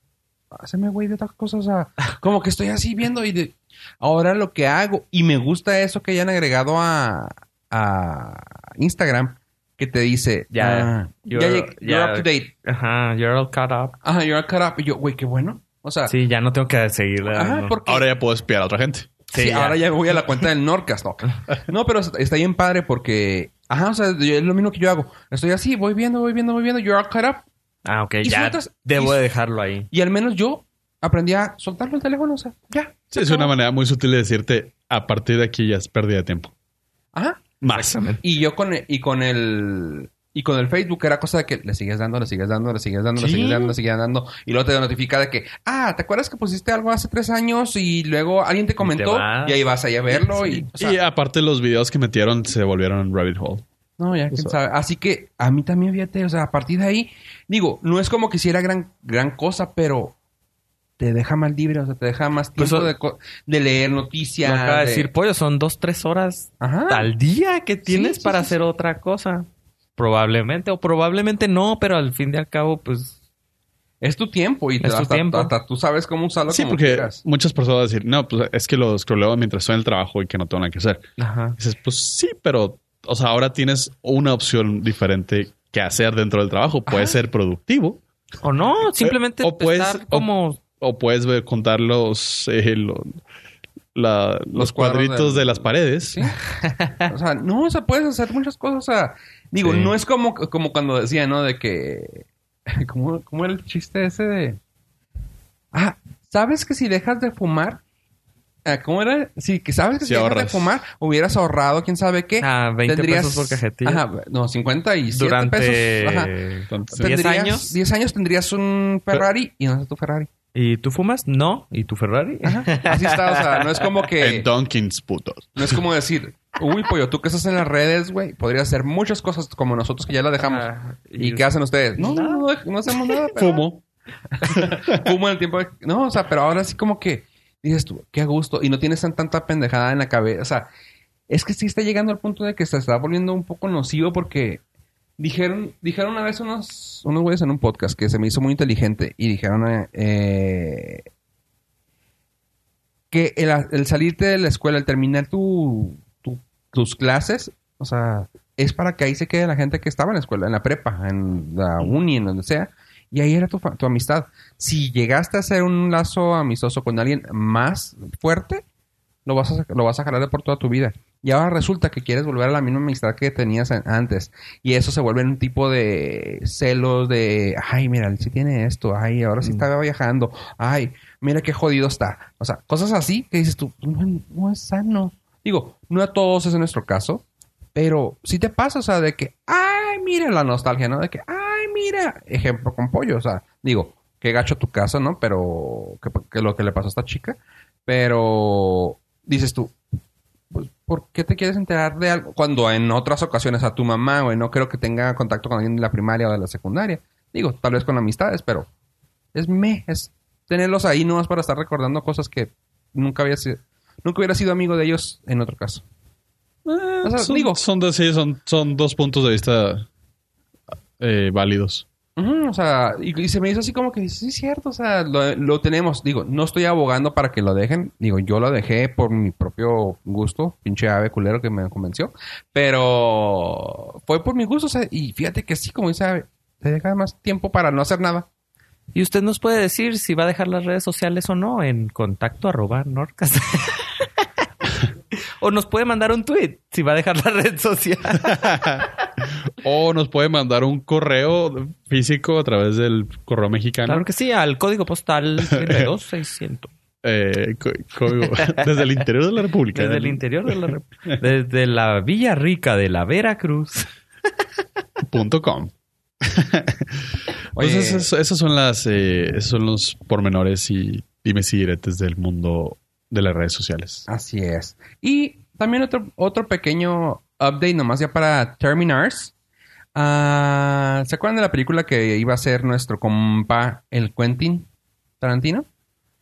B: hacerme güey de otras cosas. o sea, como que estoy así viendo y de, ahora lo que hago. Y me gusta eso que hayan agregado a, a Instagram que te dice,
D: Ya,
B: ah, ya,
D: you're-
B: lleg- you're
D: ya.
B: up to date.
D: Ajá, you're all caught up.
B: Ajá, you're caught up. Y yo, güey, qué bueno. O sea,
D: Sí, ya no tengo que seguirle.
B: ajá,
D: dando.
B: porque
E: Ahora ya puedo espiar a otra gente.
B: Ah, Sí,
D: Sí, ya.
B: ahora ya voy a la cuenta del Norcas. No, no pero está- está bien padre porque... Ajá, o sea, yo- es lo mismo que yo hago. Estoy así, voy viendo, voy viendo, voy viendo. You're all caught up.
D: Ah, ok,
B: ¿Y
D: ya
B: sueltas?
D: debo
B: ¿Y-
D: de dejarlo ahí.
B: Y al menos yo aprendí a soltarlo el teléfono, o sea, ya.
E: Sí, es una manera muy sutil de decirte, a partir de aquí ya es pérdida de tiempo.
B: Ajá.
E: Más.
B: Y yo con el, y con el y con el Facebook era cosa de que le sigues dando, le sigues dando, le sigues dando, le
D: Sí.
B: sigues dando, le sigues dando y luego te notifica de que, ah, ¿te acuerdas que pusiste algo hace tres años y luego alguien te comentó
D: vas.
B: y, ahí vas ahí a verlo y, o sea,
E: y aparte los videos que metieron se volvieron rabbit hole.
B: no, ya quién sabe. Así que a mí también fíjate, o sea, a partir de ahí digo, no es como que hiciera gran gran cosa, pero te deja más libre, o sea, te deja más
D: Pues,
B: tiempo
D: o-
B: de, co- de leer noticias.
D: Lo acaba de
B: de-
D: decir Pollo, son dos, tres horas
B: Ajá.
D: al día que tienes
B: sí,
D: para
B: sí,
D: hacer otra cosa. Probablemente, o probablemente no, pero al fin y al cabo, pues...
B: Es tu tiempo y te
D: Es tu
B: hasta,
D: tiempo.
B: hasta tú sabes cómo usarlo
E: Sí,
B: como
E: porque
B: quieras.
E: muchas personas van a decir, no, pues es que lo scrolleo mientras estoy en el trabajo y que no tengo nada que hacer.
D: Ajá.
E: Dices, pues sí, pero, o sea, ahora tienes una opción diferente que hacer dentro del trabajo. Puedes ser productivo
D: O
B: Eh,
D: no, simplemente
E: o puedes-
D: estar
E: o-
D: como...
E: o puedes ver- contar los, eh, lo- la- los,
B: Los cuadros
E: cuadritos
B: del-
E: de las paredes.
B: Sí. O sea, no, o sea, puedes hacer muchas cosas. O sea, digo,
E: Sí.
B: no es como, como cuando decía, ¿no? De que. ¿Cómo, cómo era el chiste ese de.? Ah, ¿sabes que si dejas de fumar? Ah, ¿Cómo era? Sí, que sabes que
E: Sí
B: si dejas de
E: ahorras.
B: fumar, hubieras ahorrado, quién sabe qué.
D: Ah, 20 pesos por cajetilla.
B: Ajá, no, 57
D: durante...
B: pesos. Ajá.
E: Entonces,
D: Pero- 10
B: Tendrías-
D: años.
B: 10 años tendrías un Ferrari y no es tu Ferrari.
D: ¿Y tú fumas? No. ¿Y tu Ferrari?
B: Ajá. Así está, o sea, no es como que.
E: en Donkins, putos.
B: No es como decir, uy, pollo, tú que estás en las redes, güey, podrías hacer muchas cosas como nosotros que ya la dejamos.
D: Ah,
B: ¿Y
D: y-
B: qué hacen ustedes? No,
D: Nada.
B: no, no, no hacemos nada. pero-
E: Fumo.
B: Fumo en el tiempo. de- No, o sea, pero ahora sí como que dices tú, qué gusto. Y no tienes tan, tanta pendejada en la cabeza. O sea, es que sí está llegando al punto de que se está volviendo un poco nocivo porque dijeron, dijeron una vez unos, unos güeyes en un podcast que se me hizo muy inteligente y dijeron eh, eh, que el, a- el salirte de la escuela, el terminar tu, tu- tus clases, o sea, es para que ahí se quede la gente que estaba en la escuela, en la prepa, en la uni, en donde sea. Y ahí era tu, fa- tu amistad. Si llegaste a hacer un lazo amistoso con alguien más fuerte, lo vas a, lo vas a jalar de por toda tu vida. Y ahora resulta que quieres volver a la misma amistad que tenías an- antes. Y eso se vuelve un tipo de celos de, ay, mira, él sí tiene esto, ay, ahora sí está viajando, ay, mira qué jodido está. O sea, cosas así que dices tú, no, no es sano. Digo, no a todos es en nuestro caso, pero sí te pasa, o sea, de que, ay, mira la nostalgia, ¿no? De que, ay, mira, ejemplo con pollo, o sea, digo, qué gacho tu casa, ¿no? Pero, que, que lo que le pasó a esta chica, pero dices tú, pues, ¿por qué te quieres enterar de algo? Cuando en otras ocasiones a tu mamá, güey, no creo que tenga contacto con alguien de la primaria o de la secundaria. Digo, tal vez con amistades, pero es me, es tenerlos ahí nomás para estar recordando cosas que nunca había sido, nunca hubiera sido amigo de ellos en otro caso. Ah, O sea,
E: son,
B: digo-
E: son, dos- sí, son- son dos puntos de vista eh, válidos.
B: Ujú, o sea, y, y se me hizo así como que sí, es cierto, o sea, lo, lo tenemos. Digo, no estoy abogando para que lo dejen. Digo, yo lo dejé por mi propio gusto, pinche ave culero que me convenció. Pero fue por mi gusto, o sea, y fíjate que sí, como dice Ave, te deja más tiempo para no hacer nada.
D: Y usted nos puede decir si va a dejar las redes sociales o no en contacto arroba norcas. O nos puede mandar un tweet si va a dejar la red social.
E: O nos puede mandar un correo físico a través del correo mexicano.
D: Claro que sí, al código postal 32600.
E: Eh, co- código- desde el interior de la República.
D: Desde el interior de la rep- Desde la Villa Rica de la Veracruz.
E: punto com.
B: Oye.
E: Entonces, eso- esos son las, eh, esos son los pormenores y dimes y diretes del mundo de las redes sociales.
B: Así es. Y también otro, otro pequeño update nomás ya para Terminars. Ah, ¿Se acuerdan de la película que iba a ser nuestro compa, el Quentin Tarantino?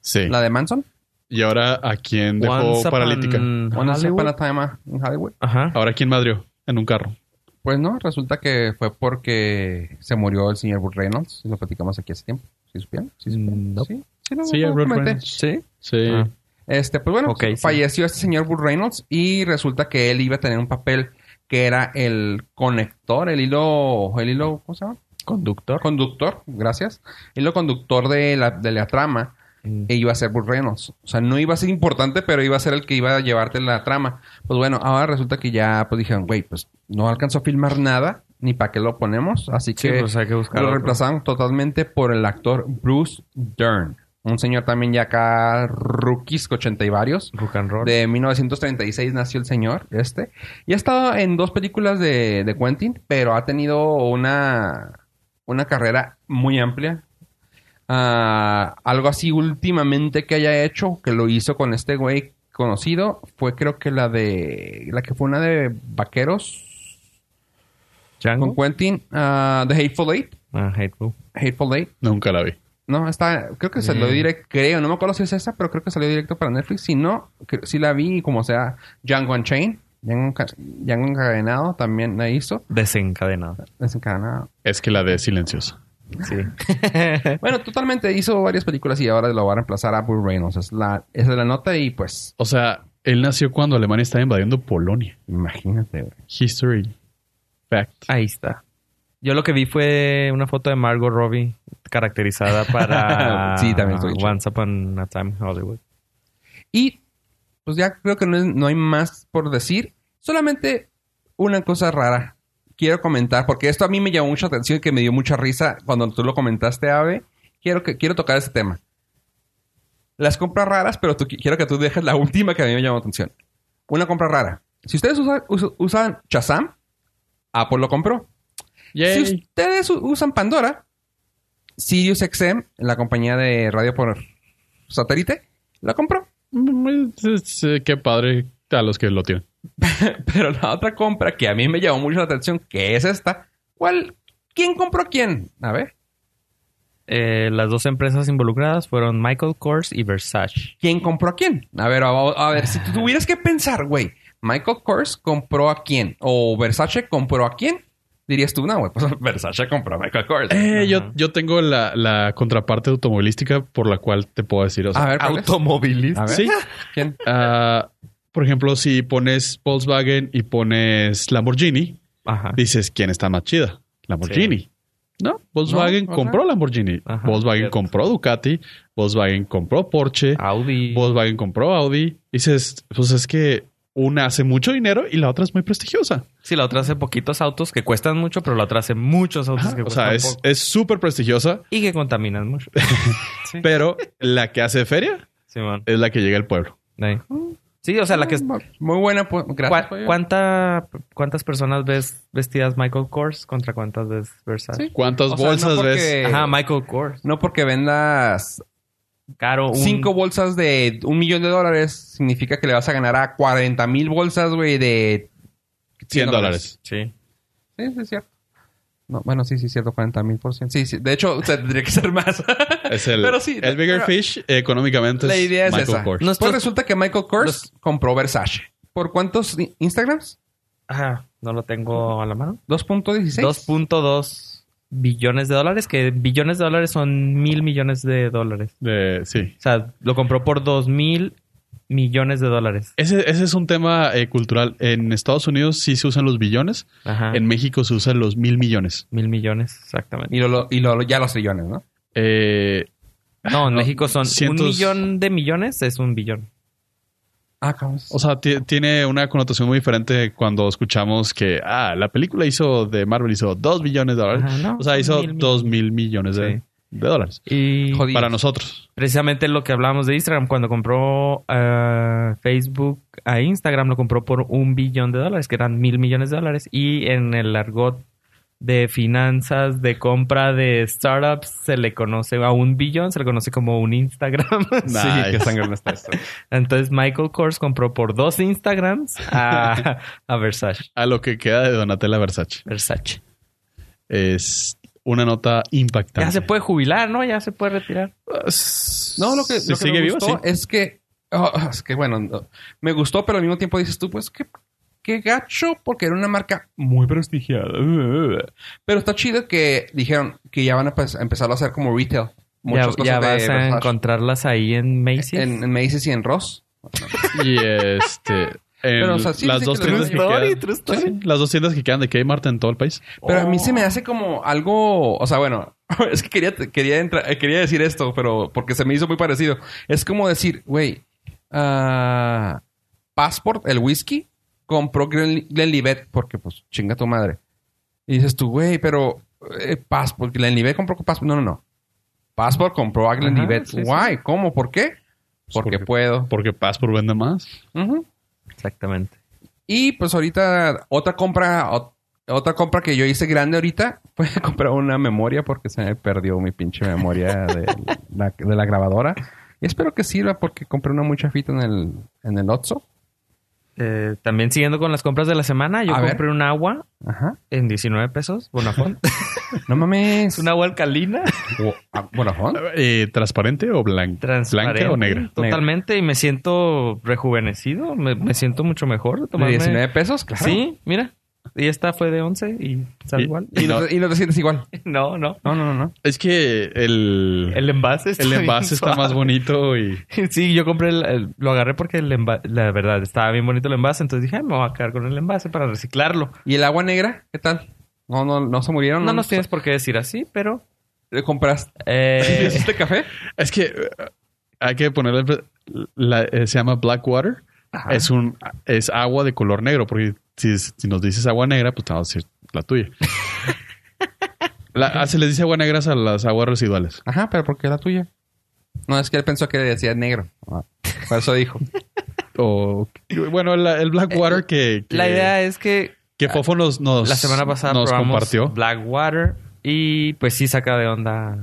E: Sí.
B: La de Manson.
E: Y ahora, ¿a quién dejó
D: Once upon
E: paralítica?
B: Once Upon
D: Hollywood.
B: a Time in Hollywood.
D: Ajá.
E: Ahora, ¿quién madrió? En un carro.
B: Pues no, resulta que fue porque se murió el señor Burt Reynolds. Lo platicamos aquí hace tiempo. ¿Sí supieron? ¿Sí, supieron?
D: Mm, No.
B: ¿Sí? Sí, no,
E: Sí,
B: no,
E: a Burt
B: comenté.
E: Reynolds.
D: Sí.
E: Sí.
D: Ah.
B: Este, pues bueno,
D: Ok, sí.
B: falleció este señor Burt Reynolds y resulta que él iba a tener un papel que era el conector, el hilo, el hilo, ¿cómo se llama?
D: Conductor.
B: Conductor, gracias. Hilo conductor de la, de la trama
D: Mm.
B: e iba a ser Burt Reynolds. O sea, no iba a ser importante, pero iba a ser el que iba a llevarte la trama. Pues bueno, ahora resulta que ya pues dijeron, güey, pues no alcanzó a filmar nada, ni para qué lo ponemos, así
D: Sí,
B: que
D: pues hay que buscar
B: lo
D: otro.
B: reemplazaron totalmente por el actor Bruce Dern. Un señor también ya acá, rookies, ochenta y varios.
D: Rock and roll.
B: De 1936 nació el señor, este. Y ha estado en dos películas de, de Quentin, pero ha tenido una, una carrera muy amplia. Ah, algo así últimamente que haya hecho, que lo hizo con este güey conocido, fue creo que la de... La que fue una de Vaqueros
D: Django.
B: con Quentin, ah, The Hateful Eight.
D: Ah, Hateful.
B: Hateful Eight.
E: Nunca la vi.
B: No, está, creo que salió
D: Mm.
B: directo, creo, no me acuerdo si es esa, pero creo que salió directo para Netflix. Si no, cre- sí la vi, como sea, Django Unchained, Django, Enca- Django Encadenado también la hizo,
D: Desencadenado.
B: Desencadenado.
E: Es que la de silenciosa.
D: Sí.
B: Bueno, totalmente hizo varias películas y ahora lo va a reemplazar a Burt Reynolds. Es la, esa es la nota y pues,
E: O sea, él nació cuando Alemania estaba invadiendo Polonia.
B: imagínate, güey.
E: History. Fact.
D: Ahí está. Yo lo que vi fue una foto de Margot Robbie caracterizada para
B: Sí, también estoy hecho.
D: Once Upon a Time in Hollywood.
B: Y pues ya creo que no, es- no hay más por decir. Solamente una cosa rara. Quiero comentar, porque esto a mí me llamó mucha atención y que me dio mucha risa cuando tú lo comentaste, Ave. Quiero, que, quiero tocar este tema. Las compras raras, pero tú, qui- quiero que tú dejes la última que a mí me llamó atención. Una compra rara. Si ustedes usa- us- usan Shazam, Apple lo compró.
E: Yay.
B: Si ustedes u- usan Pandora, Sirius XM, la compañía de radio por satélite, la compró.
E: Mm, es- es- Qué padre a los que lo tienen.
B: Pero la otra compra que a mí me llamó mucho la atención, que es esta, ¿cuál? ¿Quién compró a quién? A ver,
D: Eh, las dos empresas involucradas fueron Michael Kors y Versace.
B: ¿quién compró a quién? A ver, a, a ver, si tú tuvieras que pensar, güey, Michael Kors compró a quién o Versace compró a quién, dirías tú, no, güey, pues Versace compró a Michael Kors.
E: Eh, yo, yo tengo la, la contraparte automovilística por la cual te puedo decir. O sea,
B: a ver, ¿cuál es?
D: Automovilista.
B: A ver,
E: Sí.
B: ¿quién?
E: Ah, por ejemplo, si pones Volkswagen y pones Lamborghini,
D: Ajá.
E: dices quién está más chida. Lamborghini. No, Volkswagen
B: No, ajá.
E: compró Lamborghini.
D: Ajá,
E: Volkswagen
D: cierto.
E: compró Ducati. Volkswagen compró Porsche.
B: Ah,
D: Audi.
E: Volkswagen compró Audi. Dices, pues es que una hace mucho dinero y la otra es muy prestigiosa.
D: Sí, la otra hace poquitos autos que cuestan mucho, pero la otra hace muchos
B: Pues
D: autos
E: Ajá,
D: que
E: O sea,
D: cuestan
E: es
D: poco.
E: es súper prestigiosa,
D: Y que contaminan mucho.
E: pero la que hace feria
D: Simón.
E: es la que llega al pueblo.
D: Ahí. Sí, o sea, la que...
E: Mm.
B: Muy buena, pues, gracias.
D: ¿Cuá- cuánta- ¿Cuántas personas ves vestidas Michael Kors contra cuántas ves Versace?
B: Sí.
E: ¿Cuántas
B: O sea, no
E: bolsas
B: porque-
E: ves?
D: Ajá, Michael Kors.
B: No porque vendas
D: Caro. Un...
B: cinco bolsas de un millón de dólares, significa que le vas a ganar a 40 mil bolsas, güey, de
E: 100 dólares.
D: Sí.
B: Sí, sí, es cierto. No, bueno, sí, sí, es cierto, 40 mil por ciento. Sí, sí. De hecho, o sea, tendría que ser más.
E: Es el,
B: Pero sí,
E: el Bigger
B: pero
E: Fish eh, económicamente
B: La idea es
E: Michael
B: esa.
E: Kors.
D: Nuestros-
B: Pues resulta que Michael Kors
D: Los-
B: compró Versace. ¿Por cuántos i- Instagrams?
D: Ajá, no lo tengo a la mano.
B: 2.16.
D: 2.2 billones de dólares, que billones de dólares son mil millones de dólares.
E: De- sí.
D: O sea, lo compró por dos mil millones de dólares.
E: Ese, ese es un tema eh, cultural. En Estados Unidos sí se usan los billones.
D: Ajá.
E: En México se usan los mil millones.
D: Mil millones, exactamente.
B: Y, lo- lo- y lo- ya los trillones, ¿no?
E: Eh,
D: No, en México son
E: cientos-
D: un millón de millones es un billón.
B: Ah, cabrón.
E: O sea, ti- tiene una connotación muy diferente cuando escuchamos que, ah, la película hizo de Marvel hizo 2 billones de dólares.
D: Ajá, no,
E: o sea, hizo
D: mil, mil.
E: 2 mil millones de,
D: Sí.
E: de dólares.
D: Y
B: Jodido.
E: Para nosotros.
D: precisamente lo que hablábamos de Instagram, cuando compró eh, Facebook a Instagram, lo compró por un billón de dólares, que eran mil millones de dólares. Y en el argot de finanzas, de compra de startups, se le conoce a un billón, se le conoce como un Instagram.
B: sí,
E: Nice.
B: qué sangre no está esto.
D: Entonces Michael Kors compró por dos Instagrams a, a Versace.
E: A lo que queda de Donatella Versace.
D: Versace.
E: Es una nota impactante.
D: Ya se puede jubilar, ¿no? Ya se puede retirar.
B: No, lo que,
E: Si
B: lo que
E: sigue
B: me
E: vivo,
B: gustó
E: sí.
B: es que... oh, es que bueno, no. me gustó, pero al mismo tiempo dices tú, pues qué, qué gacho, porque era una marca muy prestigiada. Pero está chido que dijeron que ya van a pues, empezarlo a hacer como retail.
D: Ya,
B: Muchas
D: ya
B: cosas de
D: vas a
B: Versace.
D: encontrarlas ahí en Macy's.
B: En, en Macy's y en Ross.
E: Y este. en
B: Pero, o sea, sí,
E: las
B: sí
E: dos
B: que le
E: tiendas
B: doy
E: que
B: valor
E: quedan. Sí, las dos tiendas que quedan de Kmart en todo el país.
B: Pero a mí se me
D: Oh.
B: hace como algo, o sea, bueno, es que quería, quería, entrar, eh, quería decir esto, pero porque se me hizo muy parecido. Es como decir, güey, ah, Passport, el whisky, compró Glen- Glenlivet porque, pues, chinga tu madre. Y dices tú, güey, pero eh, Passport, Glenlivet compró con Passport. No, no, no. Passport compró a Glenlivet.
D: sí, Pues sí.
B: Why? ¿Cómo? ¿Por qué? Porque,
E: porque-
B: puedo.
E: Porque Passport vende más.
B: Ujú.
D: Exactamente.
B: Y pues ahorita otra compra, ot- otra compra que yo hice grande ahorita fue comprar una memoria porque se me perdió mi pinche memoria de la, de la grabadora. Y espero que sirva porque compré una muy chafita en el, en el Otso.
D: Eh, también siguiendo con las compras de la semana, yo
B: A ver.
D: compré un agua
B: Ajá.
D: en 19 pesos, Bonafont.
B: No mames.
D: es un agua alcalina,
B: O- ah, Vodafone.
E: Eh, ¿Transparente o blanca?
D: transparente.
E: ¿Blanca o negra?
D: Totalmente, y me siento rejuvenecido, me, me siento mucho mejor. de
B: ¿De
D: tomarme-
B: 19 pesos, claro.
D: Sí, mira. Y esta fue de 11 y sale
E: Y-
D: igual.
B: Y no, te- y no te sientes igual.
D: No, no.
B: No, no, no, no.
E: Es que el, el,
D: El envase está bien
E: envase está más
D: suave.
E: bonito y
D: Sí, yo compré el, el- lo agarré porque el enva- la verdad estaba bien bonito el envase, entonces dije, "Ay, me voy a quedar con el envase para reciclarlo.
B: ¿Y el agua negra? ¿Qué tal? No, no, no se murieron.
D: No nos tienes por qué decir así, pero
B: ¿Le compraste?
D: eh,
B: ¿Hiciste café?
E: Es que eh, hay que ponerle. pues, la- eh, se llama Blackwater. Es un es agua de color negro, porque si, si nos dices agua negra, pues te vamos a decir la tuya. La- ah, se les dice agua negras a las aguas residuales.
B: Ajá, pero ¿por qué la tuya? No, es que él pensó que le decía negro. Ah, Por eso dijo.
E: O, bueno, la- el Blackwater que, que,
D: Eh, la idea es que
E: que Fofo nos, nos-
D: la semana pasada
E: nos
D: probamos
E: compartió.
D: Blackwater y pues sí saca de onda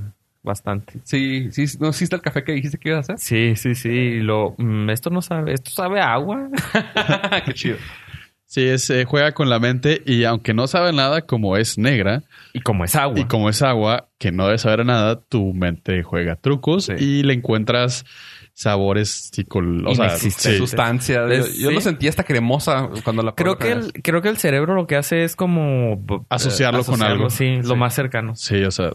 D: bastante.
B: Sí, sí, no, sí está el café que dijiste que ibas a hacer.
D: Sí, sí, sí. Lo, mm, esto no sabe, esto sabe a agua.
B: Qué chido.
E: Sí, es, eh, juega con la mente y aunque no sabe nada, como es negra
D: Y como es agua.
E: y como es agua que no debe saber nada, tu mente juega trucos
B: Sí.
E: y le encuentras sabores psicológicos. O sea,
D: Inexistentes.
E: sí.
B: Sustancia. Yo,
D: Es-
B: yo lo
D: sí.
B: sentí hasta cremosa cuando la probé
D: Creo que
B: otra vez.
D: el, creo que el cerebro lo que hace es como eh,
E: Asociarlo con algo.
D: Sí, lo
E: Sí.
D: más cercano.
E: Sí, o sea,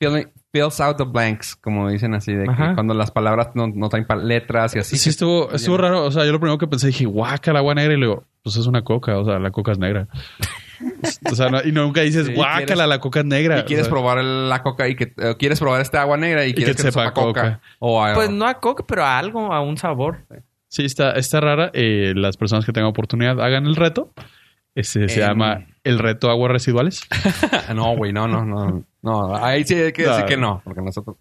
B: Filling- Fills out the blanks, como dicen así, de que
D: Ajá.
B: cuando las palabras no, no traen pa- letras y así.
E: sí, estuvo, estuvo raro. O sea, yo lo primero que pensé dije, guaca, el agua negra. Y luego, pues es una coca. O sea, la coca es negra. o sea, no- y nunca dices,
B: Sí,
E: guácala,
B: quieres-
E: la coca es negra.
B: Y quieres
E: O sea,
B: probar el- la coca y que eh, quieres probar esta agua negra y, quieres que, sepa coca. O eh, a-
D: Pues no a coca, pero a algo, a un sabor.
E: Sí, está, está rara. Eh, las personas que tengan oportunidad hagan el reto. Este se
B: Em.
E: llama el reto aguas residuales.
B: No, güey, no, no, no. No, ahí sí hay que
E: No.
B: decir que no, porque nosotros.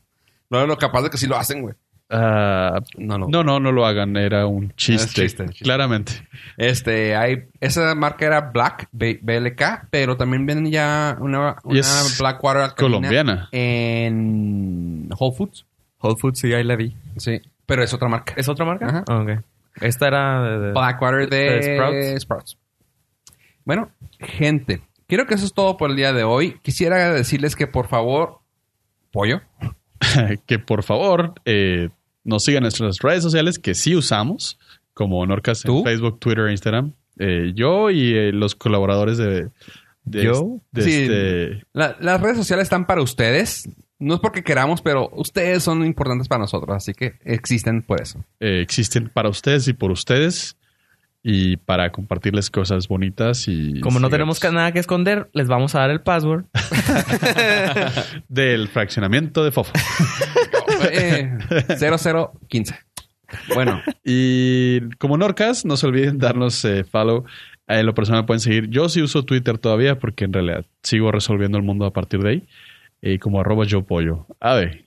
B: No es lo capaz de que sí lo hacen, güey.
E: Ah,
B: No, no.
E: no, no, no lo hagan. Era un chiste.
B: chiste, chiste.
E: Claramente.
B: Este, hay, esa marca era Black, B- BLK, pero también venden ya una,
E: Y
B: una
E: es
B: Blackwater alcalina
E: colombiana.
B: En Whole Foods.
D: Whole Foods, sí, ahí la vi.
B: Sí. Pero es otra marca.
D: ¿Es otra marca?
B: Ajá.
D: Ah, ok. Esta era de- de-
B: Blackwater de,
D: de
B: Sprouts.
D: Sprouts.
B: Bueno, gente, creo que eso es todo por el día de hoy. Quisiera decirles que por favor, pollo.
E: que por favor eh, nos sigan en nuestras redes sociales que sí usamos, como Norcas
B: ¿Tú?
E: en Facebook, Twitter, Instagram. Eh, yo y eh, los colaboradores de, de,
D: ¿Yo?
E: de
B: Sí.
E: este-
B: La- las redes sociales están para ustedes. No es porque queramos, pero ustedes son importantes para nosotros, así que existen por eso.
E: eh, existen para ustedes y por ustedes y para compartirles cosas bonitas y pues,
D: Como no
E: secretos.
D: tenemos ca- nada que esconder, les vamos a dar el password.
E: del fraccionamiento de Fofo.
B: Eh, 0015. Bueno,
E: Y como Norcas, no se olviden darnos eh, follow. Eh, lo personal pueden seguir. Yo sí uso Twitter todavía porque en realidad sigo resolviendo el mundo a partir de ahí. Y como arroba yo pollo. A ver,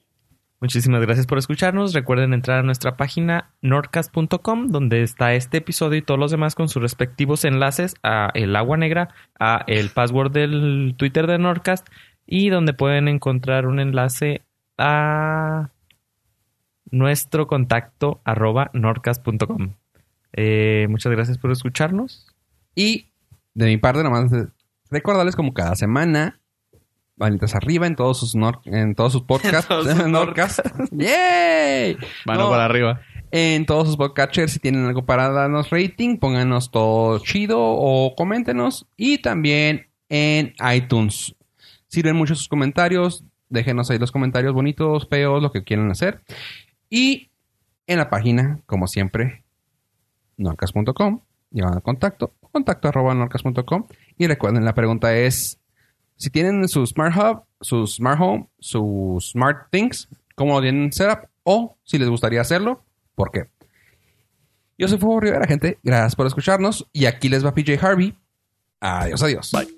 D: Muchísimas gracias por escucharnos. Recuerden entrar a nuestra página nordcast.com donde está este episodio y todos los demás con sus respectivos enlaces a El Agua Negra, a el password del Twitter de Nordcast y donde pueden encontrar un enlace a nuestro contacto arroba nordcast.com. Eh, muchas gracias por escucharnos.
B: y de mi parte, nada más eh, recordarles como cada semana, manitas arriba en todos sus, nor- en todos sus podcasts.
D: En todos sus
B: Nordcasts. ¡Yay!
E: mano
B: No.
E: para arriba.
B: en todos sus podcatchers. Si tienen algo para darnos rating, pónganos todo chido o coméntenos. Y también en iTunes. Sirven mucho sus comentarios. Déjenos ahí los comentarios bonitos, feos, lo que quieran hacer. Y en la página, como siempre, norcas.com. Llevan al contacto, contacto arroba norcas.com. Y recuerden, la pregunta es, si tienen su Smart Hub, su Smart Home, su Smart Things, cómo lo tienen setup o si les gustaría hacerlo, ¿por qué? Yo soy Fuego Rivera, gente. Gracias por escucharnos. Y aquí les va PJ Harvey. Adiós, adiós. Bye.